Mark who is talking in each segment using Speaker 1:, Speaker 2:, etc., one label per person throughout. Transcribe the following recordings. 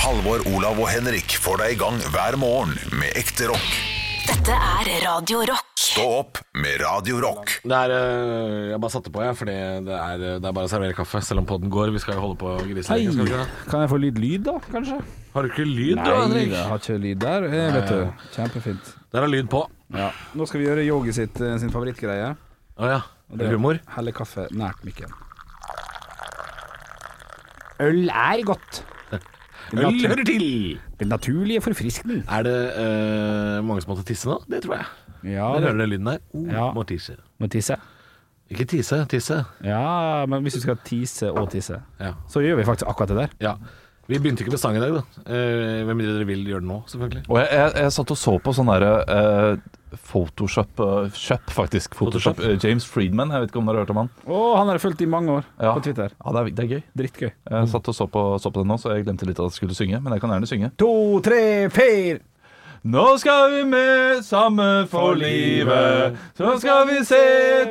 Speaker 1: Halvor, Olav og Henrik får deg i gang hver morgen med ekte rock.
Speaker 2: Dette er Radio Rock.
Speaker 1: Stå opp med Radio Rock.
Speaker 3: Det er, øh, jeg bare satte på, jeg, fordi det er, øh, det er bare å servere kaffe, selv om podden går. Vi skal jo holde på
Speaker 4: Hei!
Speaker 3: griselenge. skal vi ikke det?
Speaker 4: Kan jeg få litt lyd, da, kanskje?
Speaker 3: Har du ikke lyd, du, Henrik?
Speaker 4: jeg har ikke lyd der. Eh, vet du. Kjempefint.
Speaker 3: Der er lyd på.
Speaker 4: Nå skal vi gjøre Yogi sitt, eh, sin favorittgreie.
Speaker 3: Å ja. Det er humor.
Speaker 4: Helle kaffe nært mikken. Øl er godt. Den,
Speaker 3: Øl
Speaker 4: natu
Speaker 3: hører til!
Speaker 4: den naturlige forfriskning.
Speaker 3: Er det øh, mange som måtte tisse nå? Det tror jeg.
Speaker 4: Ja,
Speaker 3: Dere
Speaker 4: det
Speaker 3: hører den lyden der? Oh,
Speaker 4: Ja.
Speaker 3: Må tisse.
Speaker 4: må tisse.
Speaker 3: Ikke tisse, tisse.
Speaker 4: Ja, men hvis du skal tise og tisse,
Speaker 3: Ja.
Speaker 4: så gjør vi faktisk akkurat det der.
Speaker 3: ja. Vi begynte ikke med sang i dag, da. Eh, Hvem mindre dere vil gjøre det nå, selvfølgelig.
Speaker 5: Og jeg, jeg, jeg satt og så på sånn derre eh, Photoshop, eh, Shop, faktisk. Photoshop,
Speaker 3: Photoshop?
Speaker 5: eh, James Friedman, jeg vet ikke om dere har hørt om han?
Speaker 4: Å, han har jeg fulgt i mange år
Speaker 5: Ja.
Speaker 4: på Twitter.
Speaker 5: Ja, det er, det er gøy. Mm.
Speaker 4: Drittgøy.
Speaker 5: Jeg satt og så på, så på den nå, så jeg glemte litt at jeg skulle synge. Men jeg kan gjerne synge.
Speaker 4: To, tre, fire!
Speaker 5: Nå skal vi med sammen for livet. Så skal vi se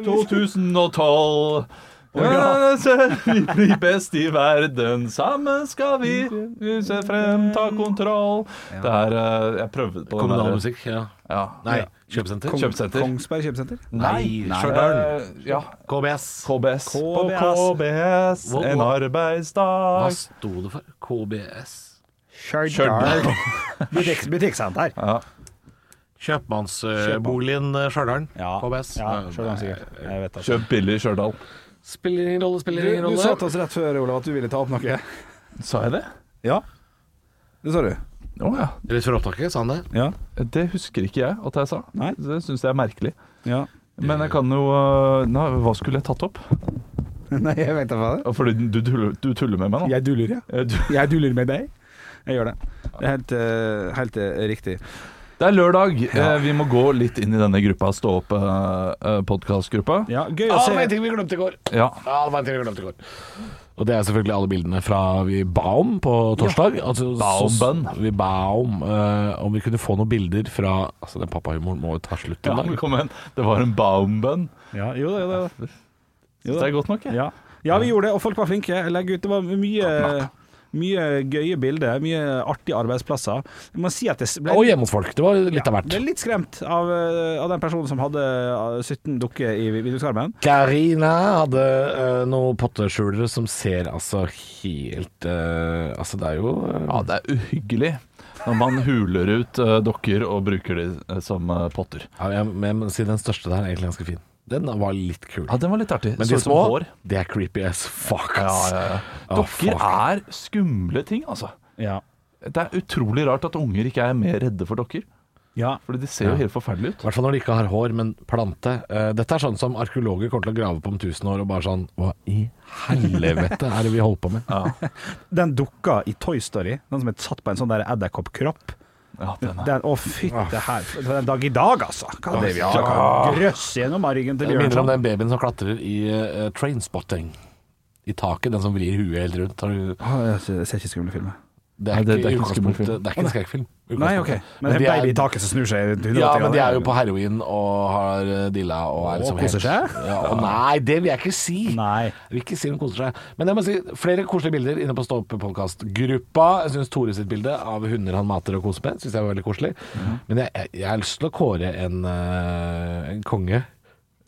Speaker 5: 2012. Ja, så vi blir best i verden. Sammen skal vi se frem, ta kontroll. Det er eh, Jeg prøvde på den
Speaker 3: Kommunal
Speaker 5: der-
Speaker 3: musikk. Ja.
Speaker 5: Ja.
Speaker 3: Nei, kjøpesenter.
Speaker 5: Kong- Kjøpesenter.
Speaker 4: Kongsberg kjøpesenter.
Speaker 3: Nei,
Speaker 5: Eh,
Speaker 3: Stjørdal.
Speaker 5: Ja,
Speaker 3: KBS.
Speaker 5: KBS. På KBS,
Speaker 3: Hva-
Speaker 5: en
Speaker 3: hva- Hva
Speaker 5: arbeidsdag.
Speaker 3: sto det for? KBS.
Speaker 4: Stjørdal. Butikk- Butikksenter.
Speaker 5: Ja.
Speaker 3: Kjøpmannsboligen eh, Stjørdal. KBS.
Speaker 4: Ja,
Speaker 3: Nei,
Speaker 4: Stjørdal sikkert. Jeg vet det.
Speaker 5: Kjøp billig i Stjørdal.
Speaker 3: Spiller ingen rolle,
Speaker 4: Du,
Speaker 3: spiller ingen
Speaker 4: du
Speaker 3: rolle.
Speaker 4: sa til oss rett før, Olav, at du ville ta opp noe.
Speaker 5: Sa jeg det?
Speaker 4: Ja. Det sa du.
Speaker 5: Å ja.
Speaker 3: Rett før opptaket, sa han det.
Speaker 4: Ja.
Speaker 5: Det husker ikke jeg at jeg sa.
Speaker 4: Nei.
Speaker 5: Det syns jeg er merkelig.
Speaker 4: ja.
Speaker 5: Men jeg kan jo øh, Nei, hva skulle jeg tatt opp?
Speaker 4: Nei, jeg vet da faen.
Speaker 5: Fordi du tuller, du tuller med meg nå.
Speaker 4: Jeg duller, ja.
Speaker 5: Eh, Du,
Speaker 4: Jeg duller med deg. Jeg gjør det. Det er helt, eh, helt eh, riktig.
Speaker 5: det er lørdag. Eh, Vi må gå litt inn i denne gruppa, stå opp-podkastgruppa.
Speaker 4: Ja, gøy
Speaker 3: Ja,
Speaker 4: å
Speaker 3: det var en
Speaker 4: se.
Speaker 3: ting vi glemte i går.
Speaker 5: Ja.
Speaker 3: Ja, det var en ting vi glemte i går. Og det er selvfølgelig alle bildene fra vi ba om på torsdag. Altså,
Speaker 5: Ba om
Speaker 3: så-
Speaker 5: bønn.
Speaker 3: Vi ba om eh, om vi kunne få noen bilder fra Altså, den pappahumoren må jo ta slutt
Speaker 5: ja,
Speaker 3: en dag.
Speaker 5: men kom igjen. Det var en baumbønn.
Speaker 4: Ja, jo da, jo da. jo da.
Speaker 5: Syns det er godt nok, jeg.
Speaker 4: Ja. ja, vi gjorde det, og folk var flinke. Jeg legger ut, Det var mye, mye gøye bilder, mye artige arbeidsplasser. Jeg må si at jeg ble
Speaker 3: Og hjemme hos folk. Det var litt av hvert.
Speaker 4: ble litt skremt av, eh, av den personen som hadde eh, 17 dukker i vinduskarmen.
Speaker 3: Karina hadde eh, noen potteskjulere som ser altså helt eh, Altså, det er jo eh,
Speaker 5: Ja, det er uhyggelig når man huler ut eh, dokker og bruker de eh, som eh, potter.
Speaker 3: ja, jeg- Men jeg må si den største der er egentlig ganske fin. Den var litt kul.
Speaker 5: Ja, den var litt artig.
Speaker 3: Men
Speaker 5: Så
Speaker 3: de
Speaker 5: ut som
Speaker 3: små,
Speaker 5: hår.
Speaker 3: det er creepy as fuck,
Speaker 5: Ja,
Speaker 3: ass.
Speaker 5: ja, ja.
Speaker 3: Å,
Speaker 5: Dokker
Speaker 3: fuck.
Speaker 5: er skumle ting, altså.
Speaker 4: Ja.
Speaker 5: Det er utrolig rart at unger ikke er mer redde for dokker.
Speaker 4: ja.
Speaker 5: Fordi de ser jo helt forferdelige ut.
Speaker 3: I hvert fall når de ikke har hår, men plante. Eh, dette er sånn som arkeologer kommer til å grave på om tusen år og bare sånn Hva i helvete er det vi holder på med?
Speaker 4: Den dukka i Toy Story, den som er satt på en sånn der edderkoppkropp.
Speaker 5: Ja, den er.
Speaker 4: Den, å, fytte her. For en dag i dag, altså. Hva er det vi har? Grøss gjennom av ryggen til
Speaker 3: Det minner om
Speaker 4: Bjørnson.
Speaker 3: den babyen som klatrer i eh, trainspotting. I taket, den som vrir huet helt rundt. Har du-
Speaker 4: Å, Jeg ser jeg ser ikke skumle filmer.
Speaker 3: Det
Speaker 5: Nei,
Speaker 3: er
Speaker 5: det- det
Speaker 3: ikke
Speaker 5: er
Speaker 3: i
Speaker 5: ikke en skummel film.
Speaker 3: utgangspunktet Det er ikke en skrekkfilm. i
Speaker 4: Nei, OK.
Speaker 3: utgangspunktet.
Speaker 4: Men det er
Speaker 3: de
Speaker 4: en baby i taket som snur seg 180
Speaker 3: Ja, men de er jo
Speaker 4: grader.
Speaker 3: på heroin og har eh, dilla og er liksom
Speaker 4: Og koser
Speaker 3: helt- Ja, og nei, det vil jeg ikke si.
Speaker 4: Nei.
Speaker 3: Jeg vil ikke si de koser seg. Men jeg må si flere koselige bilder inne på Stå opp podkast-gruppa. Jeg syns Tore sitt bilde av hunder han mater og koser med, syns jeg var veldig koselig.
Speaker 4: Mhm.
Speaker 3: Men jeg, jeg, jeg har lyst til å kåre en, eh, en konge.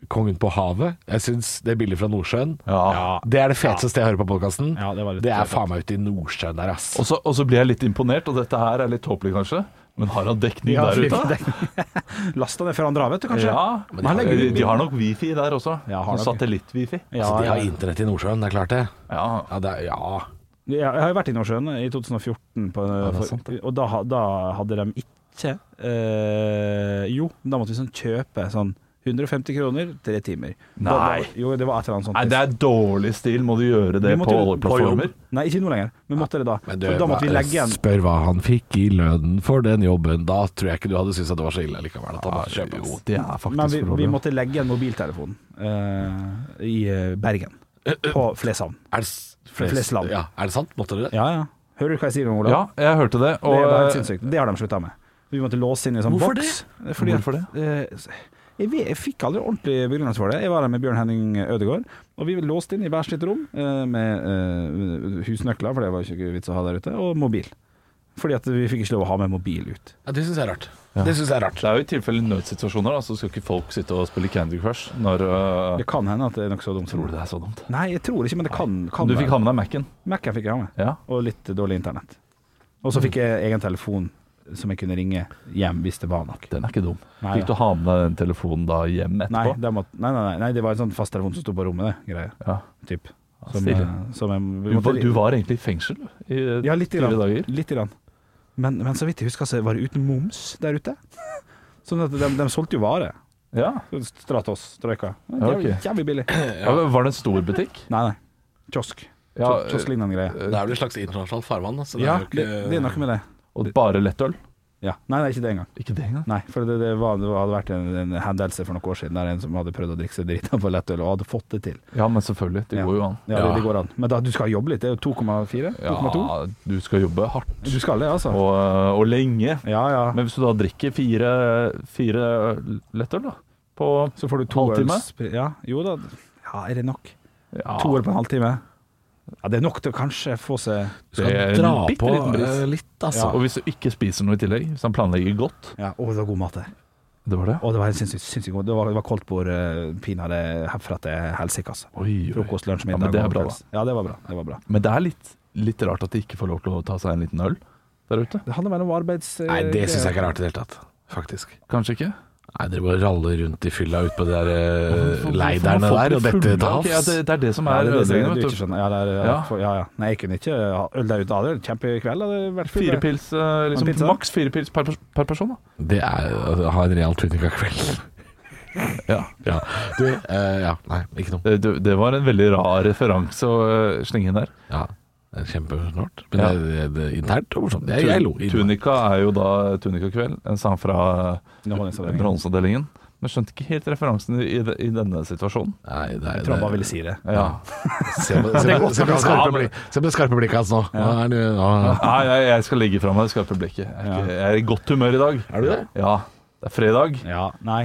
Speaker 3: Kongen på havet. Jeg syns det bildet fra Nordsjøen
Speaker 5: Ja.
Speaker 3: Det er det feteste jeg hører på podkasten.
Speaker 4: Ja, det var litt-
Speaker 3: det er faen meg ute i Nordsjøen der, ass.
Speaker 5: Og så- og så blir jeg litt imponert, og dette her er litt tåpelig kanskje, men har han dekning
Speaker 4: Ja,
Speaker 5: der
Speaker 4: fy-
Speaker 5: ute?
Speaker 4: det- Lasta ned fra han drar, vet du, kanskje?
Speaker 5: Ja,
Speaker 3: Men
Speaker 5: de
Speaker 3: de har
Speaker 5: har,
Speaker 3: jo-
Speaker 5: de har nok wifi der også.
Speaker 4: Ja, har nok.
Speaker 5: Sånn Satellitt-wifi.
Speaker 4: Ja,
Speaker 3: altså, de har
Speaker 4: ja.
Speaker 3: internett i Nordsjøen, det er klart det.
Speaker 5: Ja.
Speaker 3: Ja, det er, ja.
Speaker 4: Ja, Jeg har jo vært i Nordsjøen i 2014, på,
Speaker 5: det er
Speaker 4: for,
Speaker 5: sant, det.
Speaker 4: og da, ha- da hadde de ikke eh, Jo, da måtte vi sånn kjøpe sånn 150 kroner, tre timer. Da,
Speaker 5: Nei.
Speaker 4: da, jo, det var et eller annet sånt.
Speaker 5: Nei, det er dårlig stil. Må du gjøre
Speaker 4: Vi
Speaker 5: det på
Speaker 4: måtte jo-
Speaker 5: alle plattformer?
Speaker 4: Nei, ikke nå lenger. Vi måtte det da.
Speaker 3: Men
Speaker 4: For da måtte vi legge igjen.
Speaker 3: Spør hva han fikk i lønnen for den jobben. Da tror jeg ikke du hadde syntes at det var så ille likevel. At han måtte
Speaker 5: Ja,
Speaker 3: kjøpe
Speaker 5: jo,
Speaker 3: den.
Speaker 5: det er faktisk
Speaker 4: Men vi, vi
Speaker 5: forholdet.
Speaker 4: måtte legge igjen mobiltelefonen eh, i eh, Bergen. På Fleshavn.
Speaker 3: Er det, s-
Speaker 4: For flest land.
Speaker 3: Ja, er det sant? Måtte dere det?
Speaker 4: Ja, ja. Hører du hva jeg sier nå, Olav?
Speaker 5: Ja, jeg hørte det. Og, eh,
Speaker 4: det var helt sinnssykt. Det har de slutta med. Vi måtte låse inn i sånn
Speaker 3: Hvorfor
Speaker 4: boks. Det?
Speaker 5: Hvorfor det?
Speaker 4: jeg, vet, jeg fikk aldri ordentlig begrunnelse for det. Jeg var der med Bjørn Henning Ødegaard, og vi ble låst inn i hvert sitt rom eh, med eh, husnøkler, for det var jo ikke vits å ha der ute, og mobil. Fordi at vi fikk ikke lov å ha med mobil ut.
Speaker 3: Ja, det syns jeg er rart. Det synes jeg er rart.
Speaker 5: Det er jo i tilfelle nødsituasjoner, da, så skal ikke folk sitte og spille Candy Crush når øh,
Speaker 4: Det kan hende at det er noe så dumt.
Speaker 5: Tror du det er så dumt?
Speaker 4: Nei, jeg tror ikke, men det kan, kan
Speaker 5: Du fikk
Speaker 4: være.
Speaker 5: ha med deg Mac-en.
Speaker 4: Mac-en fikk jeg ha med.
Speaker 5: Ja.
Speaker 4: Og litt dårlig internett. Og så fikk jeg egen telefon som jeg kunne ringe hjem hvis det var nok.
Speaker 5: Den er ikke dum.
Speaker 4: Nei,
Speaker 5: fikk du ha med deg den telefonen da hjem
Speaker 4: Nei,
Speaker 5: etterpå?
Speaker 4: det måtte, nei, nei, nei, nei, det var en sånn fast telefon som sto på rommet, det greia.
Speaker 5: Ja.
Speaker 4: Typ.
Speaker 5: Ja,
Speaker 4: Som,
Speaker 5: stilig.
Speaker 4: eh, som jeg,
Speaker 5: Ah, Du,
Speaker 4: vi
Speaker 5: var,
Speaker 4: måtte-
Speaker 5: du var egentlig i fengsel i eh,
Speaker 4: Ja, litt
Speaker 5: fire
Speaker 4: grann.
Speaker 5: dager?
Speaker 4: Litt grann. Men, men så vidt jeg husker, så var det uten moms der ute. Sånn at de, de solgte jo varer.
Speaker 5: Ja.
Speaker 4: Stratos, Troika.
Speaker 5: Ja,
Speaker 4: Jævlig,
Speaker 5: ok.
Speaker 4: jævlig billig.
Speaker 5: ja. men Var det en stor butikk?
Speaker 4: Nei, nei. Kiosk.
Speaker 5: Ja, eh,
Speaker 4: Kio- Kiosklignende greie.
Speaker 3: Det er vel et slags internasjonalt farvann. da, Så det
Speaker 4: Ja,
Speaker 3: er jo
Speaker 4: det,
Speaker 3: ikke...
Speaker 4: det er noe med det.
Speaker 5: Og bare lettøl?
Speaker 4: Ja. Nei, nei, ikke det engang.
Speaker 5: Ikke det engang?
Speaker 4: Nei, for det, det, var, det hadde vært en, en hendelse for noen år siden der en som hadde prøvd å drikke seg drita på lettøl, og hadde fått det til.
Speaker 5: Ja, men selvfølgelig. Det
Speaker 4: Ja.
Speaker 5: går jo an.
Speaker 4: Ja, Det, det går an. Men da, du skal jobbe litt. Det er jo 2,4? 2,2?
Speaker 5: Ja, du skal jobbe hardt.
Speaker 4: Du skal det, altså?
Speaker 5: Og, eh, og lenge.
Speaker 4: Ja ja.
Speaker 5: Men hvis du da drikker fire, fire lettøl, da på
Speaker 4: Så får du to
Speaker 5: Halvtime?
Speaker 4: øls Ja, jo da. Ja, er det nok?
Speaker 5: ja,
Speaker 4: To øl på en halvtime? Ja, det er nok til å kanskje få seg
Speaker 3: Du skal
Speaker 5: Det er en
Speaker 3: dra
Speaker 5: bitte
Speaker 3: på
Speaker 5: liten bris.
Speaker 3: eh, litt, altså.
Speaker 5: Ja. Og hvis du ikke spiser noe i tillegg, hvis han planlegger godt
Speaker 4: Ja, Å, det var god mat der.
Speaker 5: Det var det?
Speaker 4: Å, det var helt sinnssykt sinnssykt god. Det var, det var koldtbord, eh, pinadø herfra til helsike, altså.
Speaker 5: Oi, oi.
Speaker 4: Frokost, lunsj,
Speaker 5: Ja,
Speaker 4: middag.
Speaker 5: men det er
Speaker 4: og
Speaker 5: bra,
Speaker 4: kvelds. Ja, det var bra. Det var bra.
Speaker 5: Men det er litt, litt rart at de ikke får lov til å ta seg en liten øl der ute.
Speaker 4: Det handler vel om arbeids... eh,
Speaker 3: Nei, det syns jeg ikke er rart i det hele tatt. Faktisk.
Speaker 5: Kanskje ikke?
Speaker 3: Nei, dere bare raller rundt i fylla ute på de der eh,
Speaker 5: Hvorfor
Speaker 3: leiderne
Speaker 5: har folk
Speaker 3: der, og
Speaker 5: blitt
Speaker 3: dette
Speaker 5: fulle?
Speaker 3: til
Speaker 5: Ok, ja,
Speaker 3: havs.
Speaker 5: det, det er det som
Speaker 4: Ja,
Speaker 5: er
Speaker 4: det er det som du
Speaker 5: ødeleggende.
Speaker 4: ikke
Speaker 5: vet du.
Speaker 4: skjønner. Ja, det er, ja.
Speaker 5: Ja.
Speaker 4: For, ja, ja. Nei, jeg kunne ikke ha øl der ute. Ja, Det er en kjempekveld. Det hadde vært fullt.
Speaker 5: Fire pils, eh, liksom,
Speaker 4: pils, da?
Speaker 5: maks fire pils per, pers- per person. da
Speaker 3: Det er å ha en real tunikakveld. ja. ja. Du, eh, ja. Nei, ikke noe.
Speaker 5: Det, det, det var en veldig rar referanse å eh, slenge inn der.
Speaker 3: Ja. Det er kjempesnålt. Men
Speaker 5: Ja.
Speaker 3: det, det, det er internt og morsomt. Jeg, jeg lo. i det.
Speaker 5: Tunika er jo da Tunikakveld, en sang fra eh,
Speaker 4: Underholdningsavdelingen.
Speaker 5: Bronseavdelingen. Men skjønte ikke helt referansen i, de- i denne situasjonen.
Speaker 3: Nei, det er-
Speaker 4: Jeg tror han bare ville si det.
Speaker 5: Ja.
Speaker 3: Se på se på- se på det skarpe blikk- se på det skarpe blikket hans nå. Nå er det, nå,
Speaker 5: Nei, jeg, jeg skal legge fra meg det skarpe blikket. Jeg er, ikke, jeg er i godt humør i dag.
Speaker 3: er du det?
Speaker 5: Ja. Det er fredag.
Speaker 4: Ja, nei.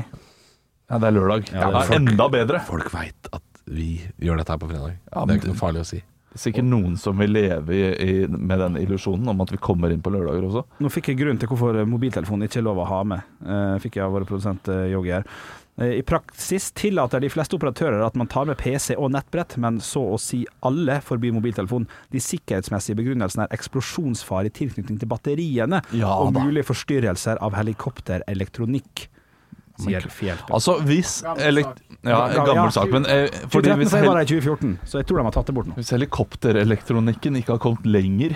Speaker 5: Ja, det er lørdag.
Speaker 4: Ja, det er
Speaker 5: Ja, enda bedre.
Speaker 3: Folk veit at vi gjør dette her på fredag.
Speaker 5: Ja,
Speaker 3: det
Speaker 5: men
Speaker 3: er ikke noe farlig å si.
Speaker 5: Det er sikkert noen som vil leve i, i, med den illusjonen om at vi kommer inn på lørdager også.
Speaker 4: Nå fikk jeg grunn til hvorfor eh, mobiltelefonen ikke er lov å ha med, eh, fikk jeg av våre produsent eh, Yogi her. Eh, I praksis tillater de fleste operatører at man tar med PC og nettbrett, men så å si alle forbyr mobiltelefon. De sikkerhetsmessige begrunnelsene er eksplosjonsfare i tilknytning til batteriene
Speaker 5: Ja
Speaker 4: og
Speaker 5: da.
Speaker 4: mulige forstyrrelser av helikopterelektronikk, sier Fjelltø.
Speaker 5: Altså hvis elekt... Ja,
Speaker 4: Gammel- ja.
Speaker 5: gammel sak, men eh, fordi
Speaker 4: 2013
Speaker 5: hvis,
Speaker 4: sier
Speaker 5: hel
Speaker 4: bare i 2014, så jeg tror de har tatt det bort nå.
Speaker 5: hvis helikopterelektronikken ikke har kommet lenger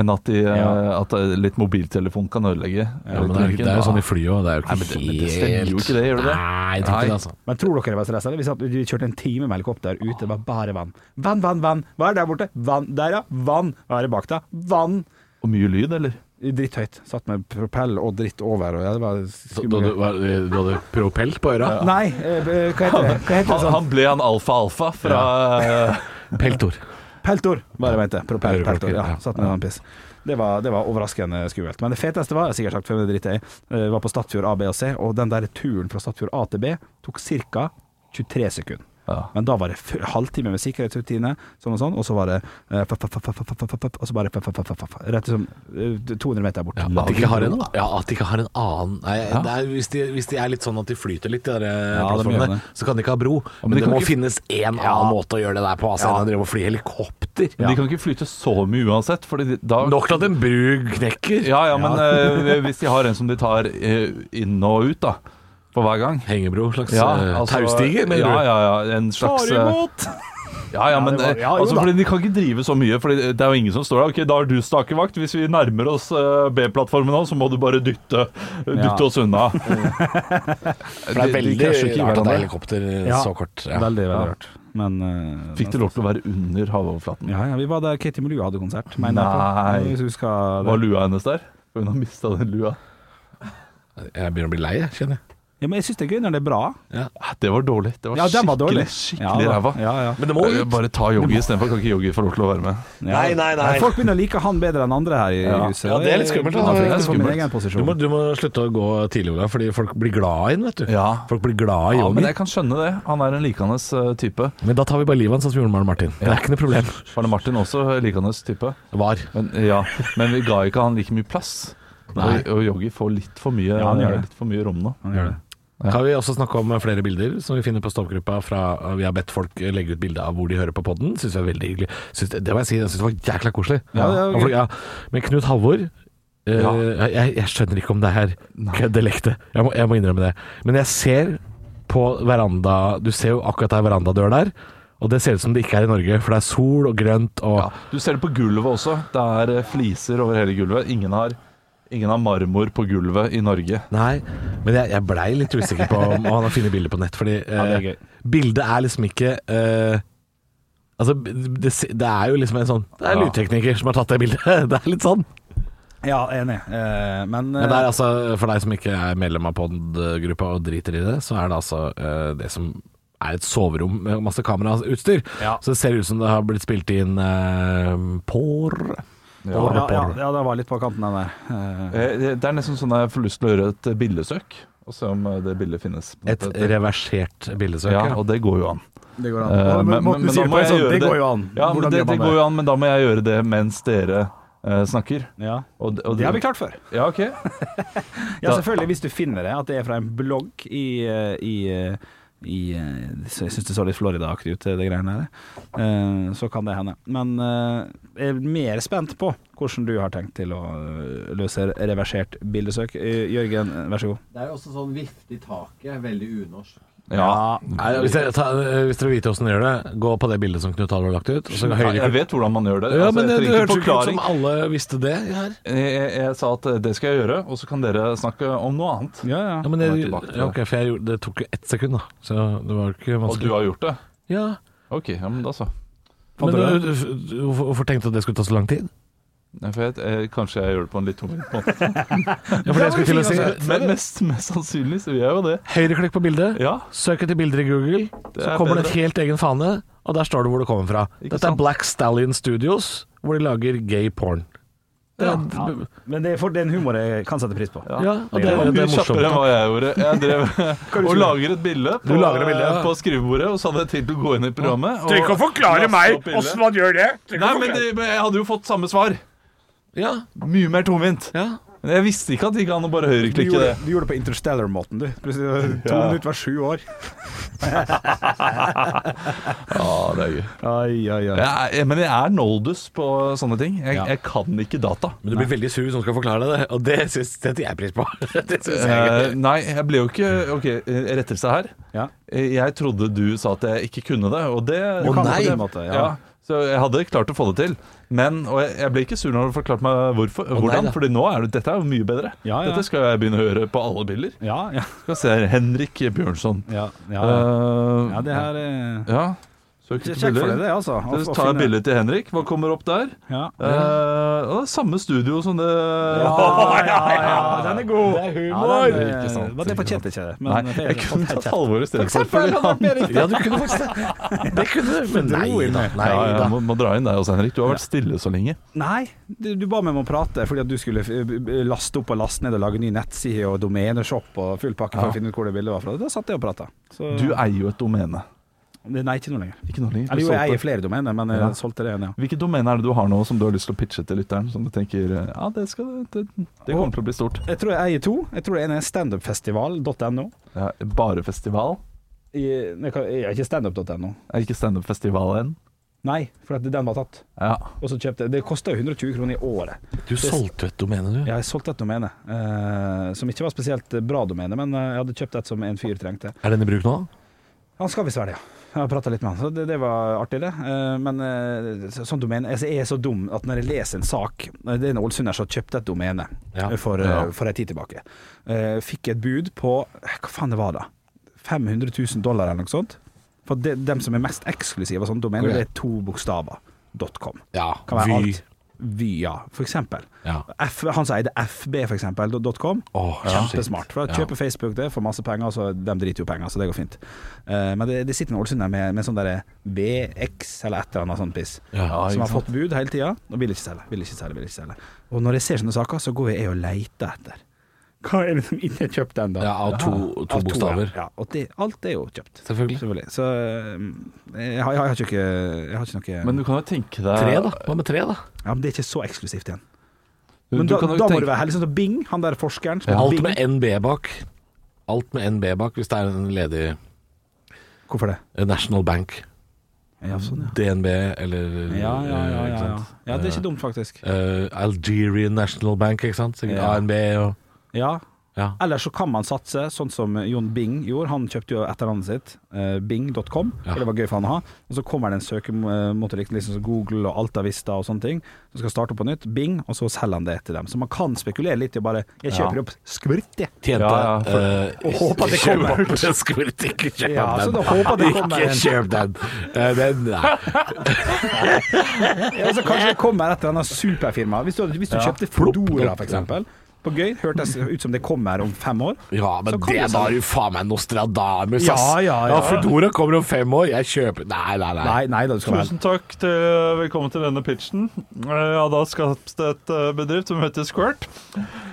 Speaker 5: enn at, de, eh,
Speaker 4: Ja.
Speaker 5: at eh, litt mobiltelefon kan ødelegge
Speaker 3: Ja, men det er,
Speaker 5: elektronikken,
Speaker 3: det er jo sånn i
Speaker 5: da-
Speaker 3: flyet òg. Det er jo ikke
Speaker 5: Nei, men det, men
Speaker 3: helt
Speaker 5: det stemmer jo ikke det, gjør det det?
Speaker 3: Nei, jeg tror ikke det, altså.
Speaker 4: Men tror dere det var stress? eller? Vi, satt, vi kjørte en time med helikopter ute, det var bare vann. Vann, vann, vann. Hva er der borte? Vann. Der, ja. Vann. Hva er det bak deg? Vann.
Speaker 5: Og mye lyd, eller?
Speaker 4: Dritthøyt. Satt med propell og dritt over. Og ja, det var
Speaker 3: Så, du, du,
Speaker 4: skummelt.
Speaker 3: hva- du hadde propell på øra?
Speaker 4: Nei, eh, eh, hva heter det? Hva heter det
Speaker 5: Han,
Speaker 4: sånn?
Speaker 5: han ble han alfa-alfa fra eh,
Speaker 3: Peltor.
Speaker 4: Peltor, bare mente jeg. Propell,
Speaker 3: Øreklokker,
Speaker 4: peltor. Ja,
Speaker 3: ja.
Speaker 4: satt med en annen piss. Det var, det var overraskende skummelt. Men det feteste var, jeg har sikkert sagt før, men det driter jeg i, eh, var på Stadfjord A, B og C, og den der turen fra Stadfjord A til B tok ca. 23 sekunder.
Speaker 5: Ja.
Speaker 4: Men da var det full- halvtime med sikkerhetsrutine, sånn og sånn, og så var det eh, fa- fa- fa- fa- fa- fa- fa- fa- fa- Og så bare fa- fa- fa- fa- fa- fa- Rett som eh, 200 meter bort.
Speaker 3: Ja, at de ikke har en, ja, at de ikke har en annen Nei, det er, hvis, de, hvis de er litt sånn at de flyter litt, de der eh,
Speaker 4: Ja, de gjør
Speaker 3: plattformene,
Speaker 4: det.
Speaker 3: så kan de ikke ha bro. Men,
Speaker 5: de
Speaker 3: det
Speaker 5: kan
Speaker 3: må
Speaker 5: ikke-
Speaker 3: finnes én annen måte å gjøre det der på, altså, enn å drive og fly helikopter.
Speaker 5: Men de kan ikke flyte så mye uansett, for da
Speaker 3: Nok til at en bru knekker.
Speaker 5: Ja, ja, men eh, hvis de har en som de tar eh, inn og ut, da, for hver gang
Speaker 3: Hengebro, slags
Speaker 5: ja,
Speaker 3: eh,
Speaker 5: altså-
Speaker 3: taustiger, mener
Speaker 5: ja,
Speaker 3: du?
Speaker 5: ja, ja, en slags eh, Ja, ja, men
Speaker 4: det var-
Speaker 5: eh,
Speaker 4: ja, jo
Speaker 5: altså,
Speaker 4: da.
Speaker 5: fordi de kan ikke drive så mye, for det er jo ingen som står der. Ok, da har du stakevakt. Hvis vi nærmer oss eh, B-plattformen nå, så må du bare dytte, dytte
Speaker 4: Ja.
Speaker 5: oss unna.
Speaker 3: For det er
Speaker 5: De- de
Speaker 3: veldig
Speaker 5: krasjer
Speaker 3: rart at det er
Speaker 5: ikke i hverandre.
Speaker 3: helikopter eh,
Speaker 4: Ja.
Speaker 3: så kort. Ja.
Speaker 4: Veldig, veldig rart. Men eh,
Speaker 5: Fikk de lov til å være under havoverflaten?
Speaker 4: Ja, ja, vi var der Katie Molua hadde konsert.
Speaker 5: Nei.
Speaker 4: Hvis du husker det.
Speaker 5: Var lua hennes der? Hun har mista den lua.
Speaker 3: Jeg begynner å bli lei, jeg, kjenner jeg.
Speaker 4: Ja, men jeg syns det er gøy når det er bra.
Speaker 5: Ah, Det var dårlig. Det var
Speaker 4: Ja, den
Speaker 5: skikkelig,
Speaker 4: var dårlig.
Speaker 5: skikkelig
Speaker 4: Ja,
Speaker 5: ræva.
Speaker 4: Ja, ja.
Speaker 3: Men det må
Speaker 5: Eh,
Speaker 3: ut.
Speaker 5: Bare ta Yogi istedenfor. Kan ikke Yogi få lov til å være med?
Speaker 3: Nei, nei, nei.
Speaker 4: Folk begynner å like han bedre enn andre her i huset.
Speaker 3: Ja, det er litt skummelt, da.
Speaker 4: Jeg er
Speaker 5: Det er
Speaker 4: for min
Speaker 5: skummelt.
Speaker 4: egen
Speaker 3: Du
Speaker 4: posisjon.
Speaker 3: må, du må slutte å gå tidlig, Olav, fordi folk blir glad i den, vet du.
Speaker 5: Ja.
Speaker 3: Folk blir glad i
Speaker 5: Ja,
Speaker 3: Yogi.
Speaker 5: men
Speaker 3: Men,
Speaker 5: jeg kan skjønne det. Han er en likende eh, type.
Speaker 3: da tar vi bare livet av han sånn som vi gjorde med Arne Martin. Det er ikke noe problem.
Speaker 5: Arne Martin også eh, likende type.
Speaker 3: Var.
Speaker 5: Men, eh, ja. men vi ga ikke han like mye plass.
Speaker 3: Nei.
Speaker 5: Og, og Yogi får litt for mye,
Speaker 4: Ja, han gjør det.
Speaker 5: litt for mye rom nå.
Speaker 4: Han gjør det.
Speaker 3: Kan vi også snakke om flere bilder som vi finner på Stoppgruppa fra eh, Vi har bedt folk legge ut bilde av hvor de hører på podden. Syns vi er veldig hyggelig. Synes, det må jeg si, jeg syns det var jækla koselig.
Speaker 4: Ja, det var
Speaker 3: Og folk- ja. Men Knut Halvor eh,
Speaker 5: Ja.
Speaker 3: jeg, jeg skjønner ikke om det er køddelekte. Jeg, må- jeg må innrømme det. Men jeg ser på veranda Du ser jo akkurat der verandadør der. Og det ser ut som det ikke er i Norge, for det er sol og grønt og
Speaker 5: Du ser det på gulvet også. Det er eh, fliser over hele gulvet. Ingen har, ingen har marmor på gulvet i Norge.
Speaker 3: Nei, men jeg, jeg blei litt usikker på om han har funnet bilder på nett. Fordi eh,
Speaker 4: det er gøy.
Speaker 3: bildet er liksom ikke eh, Altså, det, se- det er jo liksom en sånn Det er
Speaker 5: Ja.
Speaker 3: lydtekniker som har tatt det bildet. Det er litt sånn.
Speaker 4: Ja, enig. Eh, Men,
Speaker 3: Men det
Speaker 4: eh,
Speaker 3: er altså, for deg som ikke er medlem av podgruppa og driter i det, så er det altså eh, det som er et soverom med masse kamerautstyr.
Speaker 4: Ja.
Speaker 3: Så det ser ut som det har blitt spilt inn eh, por.
Speaker 4: ja,
Speaker 3: Porr,
Speaker 4: ja, ja,
Speaker 3: porr.
Speaker 4: ja, det var litt på kanten, den der. Eh,
Speaker 5: Eh, Det det er nesten sånn at jeg får lyst til å gjøre et eh, bildesøk, og se om eh, det bildet finnes. på
Speaker 3: Et
Speaker 5: nettet.
Speaker 3: reversert bildesøker.
Speaker 5: ja, og det går jo an.
Speaker 4: Det går
Speaker 5: Eh,
Speaker 4: an.
Speaker 5: men- men-
Speaker 4: Morten
Speaker 5: men
Speaker 4: sier
Speaker 5: da må
Speaker 4: bare
Speaker 5: jeg
Speaker 4: sånn,
Speaker 5: gjøre
Speaker 4: Det
Speaker 5: det.
Speaker 4: går jo an.
Speaker 5: Ja, men
Speaker 4: Hvordan
Speaker 5: det,
Speaker 4: gjør
Speaker 5: det
Speaker 4: man
Speaker 5: går jo an, men da må jeg gjøre det mens dere eh, snakker.
Speaker 4: Ja.
Speaker 5: Og, d- og
Speaker 4: Det har vi klart før.
Speaker 5: Ja, ok.
Speaker 4: Ja,
Speaker 5: Da-
Speaker 4: selvfølgelig, hvis du finner det, at det er fra en blogg i, eh, i, eh, i eh, så Jeg syns det så litt Florida-aktig ut, eh, det greiene her. Eh, Så kan det hende. Men eh, jeg er mer spent på hvordan du har tenkt til å eh, løse reversert bildesøk. Eh, Jørgen, eh, vær så god.
Speaker 6: Det er jo også sånn vifte i taket, veldig unorsk.
Speaker 5: Ja.
Speaker 3: Nei, hvis, jeg, ta, hvis dere vil vite åssen dere gjør det, gå på det bildet som Knut Halvor har lagt ut. Og så høyre
Speaker 5: Jeg vet hvordan man gjør det.
Speaker 3: Ja,
Speaker 5: Altså,
Speaker 3: men det,
Speaker 5: jeg
Speaker 3: det
Speaker 5: trenger ikke
Speaker 3: hørtes ikke ut
Speaker 5: forklaring.
Speaker 3: som alle visste det her.
Speaker 5: Jeg, jeg, jeg sa at eh, det skal jeg gjøre, og så kan dere snakke om noe annet.
Speaker 4: Ja, ja.
Speaker 3: Ja, men det,
Speaker 5: Nå er jeg tilbake til det.
Speaker 3: ja, ok, for jeg gjorde, det tok jo ett sekund, da. Så det var ikke
Speaker 5: Og du
Speaker 3: vanskelig.
Speaker 5: har gjort det?
Speaker 3: Ja,
Speaker 5: Ok, ja, men da så.
Speaker 3: men
Speaker 4: Hadde
Speaker 3: du, du, hvorfor hvorfor tenkte du at det skulle ta så lang tid?
Speaker 5: Nei, for jeg, eh, kanskje jeg gjør det på en litt tungvint måte.
Speaker 3: Ja, for det jeg skulle til å si
Speaker 5: altså. Men mest, mest sannsynlig så gjør jeg jo det.
Speaker 3: Høyreklikk på bildet,
Speaker 5: Ja.
Speaker 3: søk etter bilder i Google,
Speaker 5: Det
Speaker 3: så
Speaker 5: er
Speaker 3: kommer det
Speaker 5: bedre.
Speaker 3: en helt egen fane, og der står det hvor det kommer fra.
Speaker 5: Ikke
Speaker 3: Dette er
Speaker 5: sant?
Speaker 3: Black Stallion Studios, hvor de lager gay porn. Det er, ja,
Speaker 4: Ja. Men det er, for, det er en humor jeg kan sette pris på.
Speaker 3: og det,
Speaker 5: Det
Speaker 3: er-
Speaker 5: var
Speaker 3: det er
Speaker 5: mye kjappere
Speaker 3: morsomt.
Speaker 5: enn hva jeg gjorde. Jeg drev og lager et bilde på,
Speaker 3: Du lager et bilde, ja.
Speaker 5: på skrivebordet, og så hadde jeg tenkt å gå inn i programmet. og laste opp bildet.
Speaker 3: man gjør det!
Speaker 5: Nei, men, det, men jeg hadde jo fått samme svar.
Speaker 3: Ja,
Speaker 5: Mye mer tungvint.
Speaker 3: ja.
Speaker 5: Men jeg visste ikke at det gikk an å
Speaker 4: Du
Speaker 5: bare høyreklikke
Speaker 4: gjorde,
Speaker 5: det.
Speaker 4: du gjorde det på Interstellar-måten, du. Plutselig to
Speaker 5: Ja.
Speaker 4: minutter var sju år.
Speaker 5: Ja, Ah, det er gøy.
Speaker 4: Ai, ai, ai.
Speaker 5: Jeg, er- men jeg er noldus på sånne ting. Jeg,
Speaker 4: Ja.
Speaker 5: jeg kan ikke data.
Speaker 3: Men du blir veldig sur hvis noen skal forklare deg det, og det syns- setter jeg pris på. Det synes jeg er gøy.
Speaker 5: Eh, nei, jeg ble jo ikke OK, eh, rettelse her.
Speaker 4: Ja.
Speaker 5: Eh, Jeg trodde du sa at jeg ikke kunne det, og det
Speaker 4: Du kan
Speaker 5: Og
Speaker 4: det på
Speaker 5: nei!
Speaker 4: din måte, ja.
Speaker 5: Så jeg hadde klart å få det til. Men, og jeg, jeg ble ikke sur når du forklarte meg hvorfor, hvordan,
Speaker 3: da.
Speaker 5: Fordi nå er det, dette er jo mye bedre.
Speaker 4: Ja, ja.
Speaker 5: Dette skal jeg begynne å høre på alle bilder.
Speaker 4: Ja, ja,
Speaker 5: Skal se her, Henrik Bjørnson.
Speaker 4: ja, ja.
Speaker 5: Eh,
Speaker 4: ja det her er
Speaker 5: ja. Søk
Speaker 4: Sjekk
Speaker 5: etter
Speaker 4: for
Speaker 5: bilder.
Speaker 4: deg det, altså. å-
Speaker 5: Så
Speaker 4: å
Speaker 5: tar jeg
Speaker 4: finne-
Speaker 5: bilde til Henrik. Hva kommer opp der?
Speaker 4: Ja.
Speaker 5: Eh, og det er samme studio som det
Speaker 4: Ja, ja, ja, den er god. Det er Ja,
Speaker 5: humor.
Speaker 4: den,
Speaker 5: Ikke sant.
Speaker 4: eh, men det fortjente ikke det. Men
Speaker 5: Nei, jeg kunne tatt Halvor i stedet for.
Speaker 4: eksempel,
Speaker 5: fordi
Speaker 4: hadde vært
Speaker 5: han-
Speaker 3: Ja, du kunne faktisk det. Det kunne du, men nei da. Nei
Speaker 5: ja, ja,
Speaker 3: da.
Speaker 5: må, må dra inn deg også, Henrik. Du har vært stille så lenge.
Speaker 4: Nei, du, du ba meg om å prate fordi at du skulle eh, b- b- laste opp og laste ned og lage ny nettside og domeneshop og full pakke for å finne ut hvor det bildet var fra. Da satt jeg og prata. Så-
Speaker 5: Du eier jo et domene.
Speaker 4: Det- Nei, ikke noe lenger.
Speaker 5: Ikke noe lenger.
Speaker 4: Eller Mm.
Speaker 5: Du
Speaker 4: jo, jeg
Speaker 5: solgte-
Speaker 4: eier flere domener, men jeg
Speaker 5: Ja.
Speaker 4: solgte det ene, ja.
Speaker 5: Hvilket domene er det du har nå som du har lyst til å pitche til lytteren? Som du tenker eh, ja, det, skal, det, det kommer til å bli stort.
Speaker 4: Jeg tror jeg eier to. Jeg tror det ene er standupfestival.no.
Speaker 5: Ja, bare festival?
Speaker 4: I- nei, hva- ja, Ikke standup.no.
Speaker 5: Er ikke standup-festival enn?
Speaker 4: Nei, for at den var tatt.
Speaker 5: Ja.
Speaker 4: Og så kjøpte jeg Det kosta jo 120 kroner i året.
Speaker 3: Du solgte et domene, du.
Speaker 4: Ja, jeg solgte et domene, eh, som ikke var spesielt bra domene, men eh, jeg hadde kjøpt et som en fyr trengte.
Speaker 3: Er den i bruk nå?
Speaker 4: Han skal visst være det, ja. Jeg har prata litt med han, så det, det var artig, det. Eh, Men eh, så- sånn domene altså, Jeg er så dum at når jeg leser en sak eh, Det er en ålesunder som har kjøpt et domene
Speaker 3: Ja.
Speaker 4: eh, for, eh,
Speaker 5: Ja.
Speaker 4: for ei tid tilbake. Eh, Fikk et bud på eh, Hva faen det var da? 500 000 dollar eller noe sånt? For det, dem som er mest eksklusive av sånne domener,
Speaker 3: Ok.
Speaker 4: det er to bokstaver. .com.
Speaker 3: Ja.
Speaker 4: Kan være
Speaker 3: Vy.
Speaker 4: alt. Vya, for eksempel.
Speaker 3: Ja.
Speaker 4: F, han som eide FB, for eksempel, dot- dot .com.
Speaker 3: Åh,
Speaker 4: Kjempesmart. For
Speaker 3: shit.
Speaker 4: da kjøper Facebook det, får masse penger, så de driter jo penger, så det går fint. Eh, men det, det sitter en Ålesund der med, med sånn derre VX eller et eller annet sånt piss,
Speaker 3: Ja,
Speaker 4: som
Speaker 5: ikke
Speaker 4: har fått bud hele tida, og vil ikke selge, vil ikke selge, vil ikke selge. Og når jeg ser sånne saker, så går jeg og leter etter. Hva er det som ikke er kjøpt ennå?
Speaker 3: Ja, av to- to
Speaker 4: Av
Speaker 3: bokstaver.
Speaker 4: Ja, og det, alt er jo kjøpt.
Speaker 3: Selvfølgelig.
Speaker 4: Så um, jeg har, jeg har ikke Jeg har ikke noe
Speaker 5: Men du kan jo tenke deg
Speaker 3: Tre, da. Hva med tre, da?
Speaker 4: Ja, men det er ikke så eksklusivt igjen.
Speaker 5: Du,
Speaker 4: Men
Speaker 5: du
Speaker 4: da,
Speaker 5: kan jo
Speaker 4: da må
Speaker 5: tenke-
Speaker 4: du være heldig sånn som Bing, han der forskeren. Som
Speaker 3: Alt
Speaker 4: Bing.
Speaker 3: med NB bak. Alt med NB bak, hvis det er en ledig
Speaker 4: Hvorfor det?
Speaker 3: eh, National Bank,
Speaker 4: Ja, sånn, ja.
Speaker 3: DNB eller
Speaker 4: Ja, ja, ja,
Speaker 3: eh,
Speaker 4: ja,
Speaker 3: ikke
Speaker 4: ja.
Speaker 3: sant?
Speaker 4: ja, det er ikke dumt, faktisk.
Speaker 3: Eh, Algerian National Bank, ikke sant? Sikkert
Speaker 4: Ja.
Speaker 3: ANB og
Speaker 4: Ja.
Speaker 3: Ja.
Speaker 4: Eller så kan man satse, sånn som Jon Bing gjorde. Han kjøpte jo etternavnet sitt, eh, bing.com,
Speaker 3: Ja.
Speaker 4: for det var gøy for han å ha. Og så kommer det en søkemotor, liksom som Google og Alta Vista og sånne ting, som skal starte på nytt. Bing, og så selger han det til dem. Så man kan spekulere litt i å bare Jeg kjøper opp skvirt, jeg.
Speaker 3: Tjente
Speaker 5: Ja, ja, for-
Speaker 3: eh,
Speaker 4: Og håper at det
Speaker 3: kjøp
Speaker 4: kommer.
Speaker 3: opp en skvitt, ikke kjøp
Speaker 4: Ja, så
Speaker 3: den.
Speaker 4: da håper det kommer
Speaker 3: ikke
Speaker 4: en.
Speaker 3: kjøp den. Eh, den nei.
Speaker 4: Ja, altså, kanskje det kommer et eller annet superfirma. Hvis du, hvis du kjøpte Foodora, for eksempel. På gøy, hørtes ut som det kommer om fem år.
Speaker 3: Ja, men
Speaker 4: Så kan
Speaker 3: det
Speaker 4: du
Speaker 3: da
Speaker 4: selge.
Speaker 3: er jo faen meg Nostradamus,
Speaker 4: Ja,
Speaker 3: ass.
Speaker 4: ja, ja.
Speaker 3: Foodora kommer om fem år, jeg kjøper Nei, nei, nei.
Speaker 4: Nei, nei da, du skal være
Speaker 5: Tusen takk til eh, Velkommen til denne pitchen. Eh, Ja, da skapes det et eh, bedrift som heter Squirt.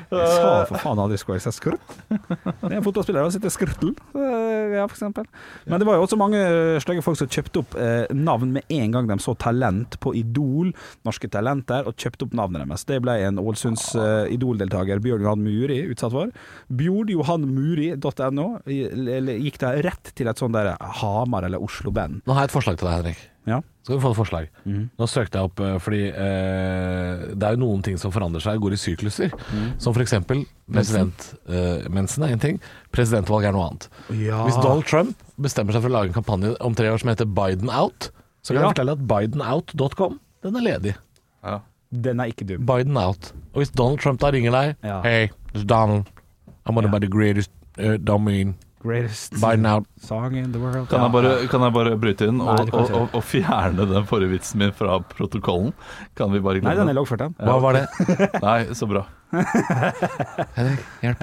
Speaker 4: Jeg sa for faen aldri skulle jeg si skrutt. Det er en fotballspiller som heter Skruttel, eh, ja, for eksempel. Men det var jo også mange eh, slagge folk som kjøpte opp eh, navn med en gang de så talent på Idol, norske talenter, og kjøpte opp navnet deres. Det ble en Ålesunds eh, Idol-deltaker, Bjørn Johan Muri, utsatt for. Bjordjohanmuri.no eller gikk da rett til et sånt der eh, Hamar eller Oslo-band.
Speaker 3: Nå har jeg et forslag til deg, Henrik.
Speaker 4: Ja.
Speaker 3: Skal du få et forslag?
Speaker 5: Mhm.
Speaker 3: Nå søkte jeg opp eh, fordi eh, det er jo noen ting som forandrer seg, går i sykluser.
Speaker 5: Mhm.
Speaker 3: Som for eksempel president eh, Mensen er én ting, presidentvalg er noe annet. Hvis Donald Trump bestemmer seg for å lage en kampanje om tre år som heter Biden out, så kan
Speaker 4: Ja.
Speaker 3: jeg fortelle at bidenout.com, den er ledig.
Speaker 4: Den er ikke dum.
Speaker 3: Biden out. Og hvis Donald Trump da ringer deg
Speaker 4: Ja.
Speaker 3: Hey, it's Donald. I'm one
Speaker 4: Ja.
Speaker 3: of the greatest uh, domain.
Speaker 4: Greatest
Speaker 3: Biden out.
Speaker 4: song in the world.
Speaker 5: Kan, jeg bare, kan jeg bare bryte inn
Speaker 4: Nei,
Speaker 5: og,
Speaker 4: det kan
Speaker 5: og,
Speaker 4: du
Speaker 5: og, og fjerne den forrige vitsen min fra protokollen? Kan vi bare
Speaker 4: Nei, den
Speaker 5: glemme
Speaker 4: er loggført, den.
Speaker 3: Hva var det?
Speaker 5: Nei, så bra.
Speaker 3: Henrik, hjelp.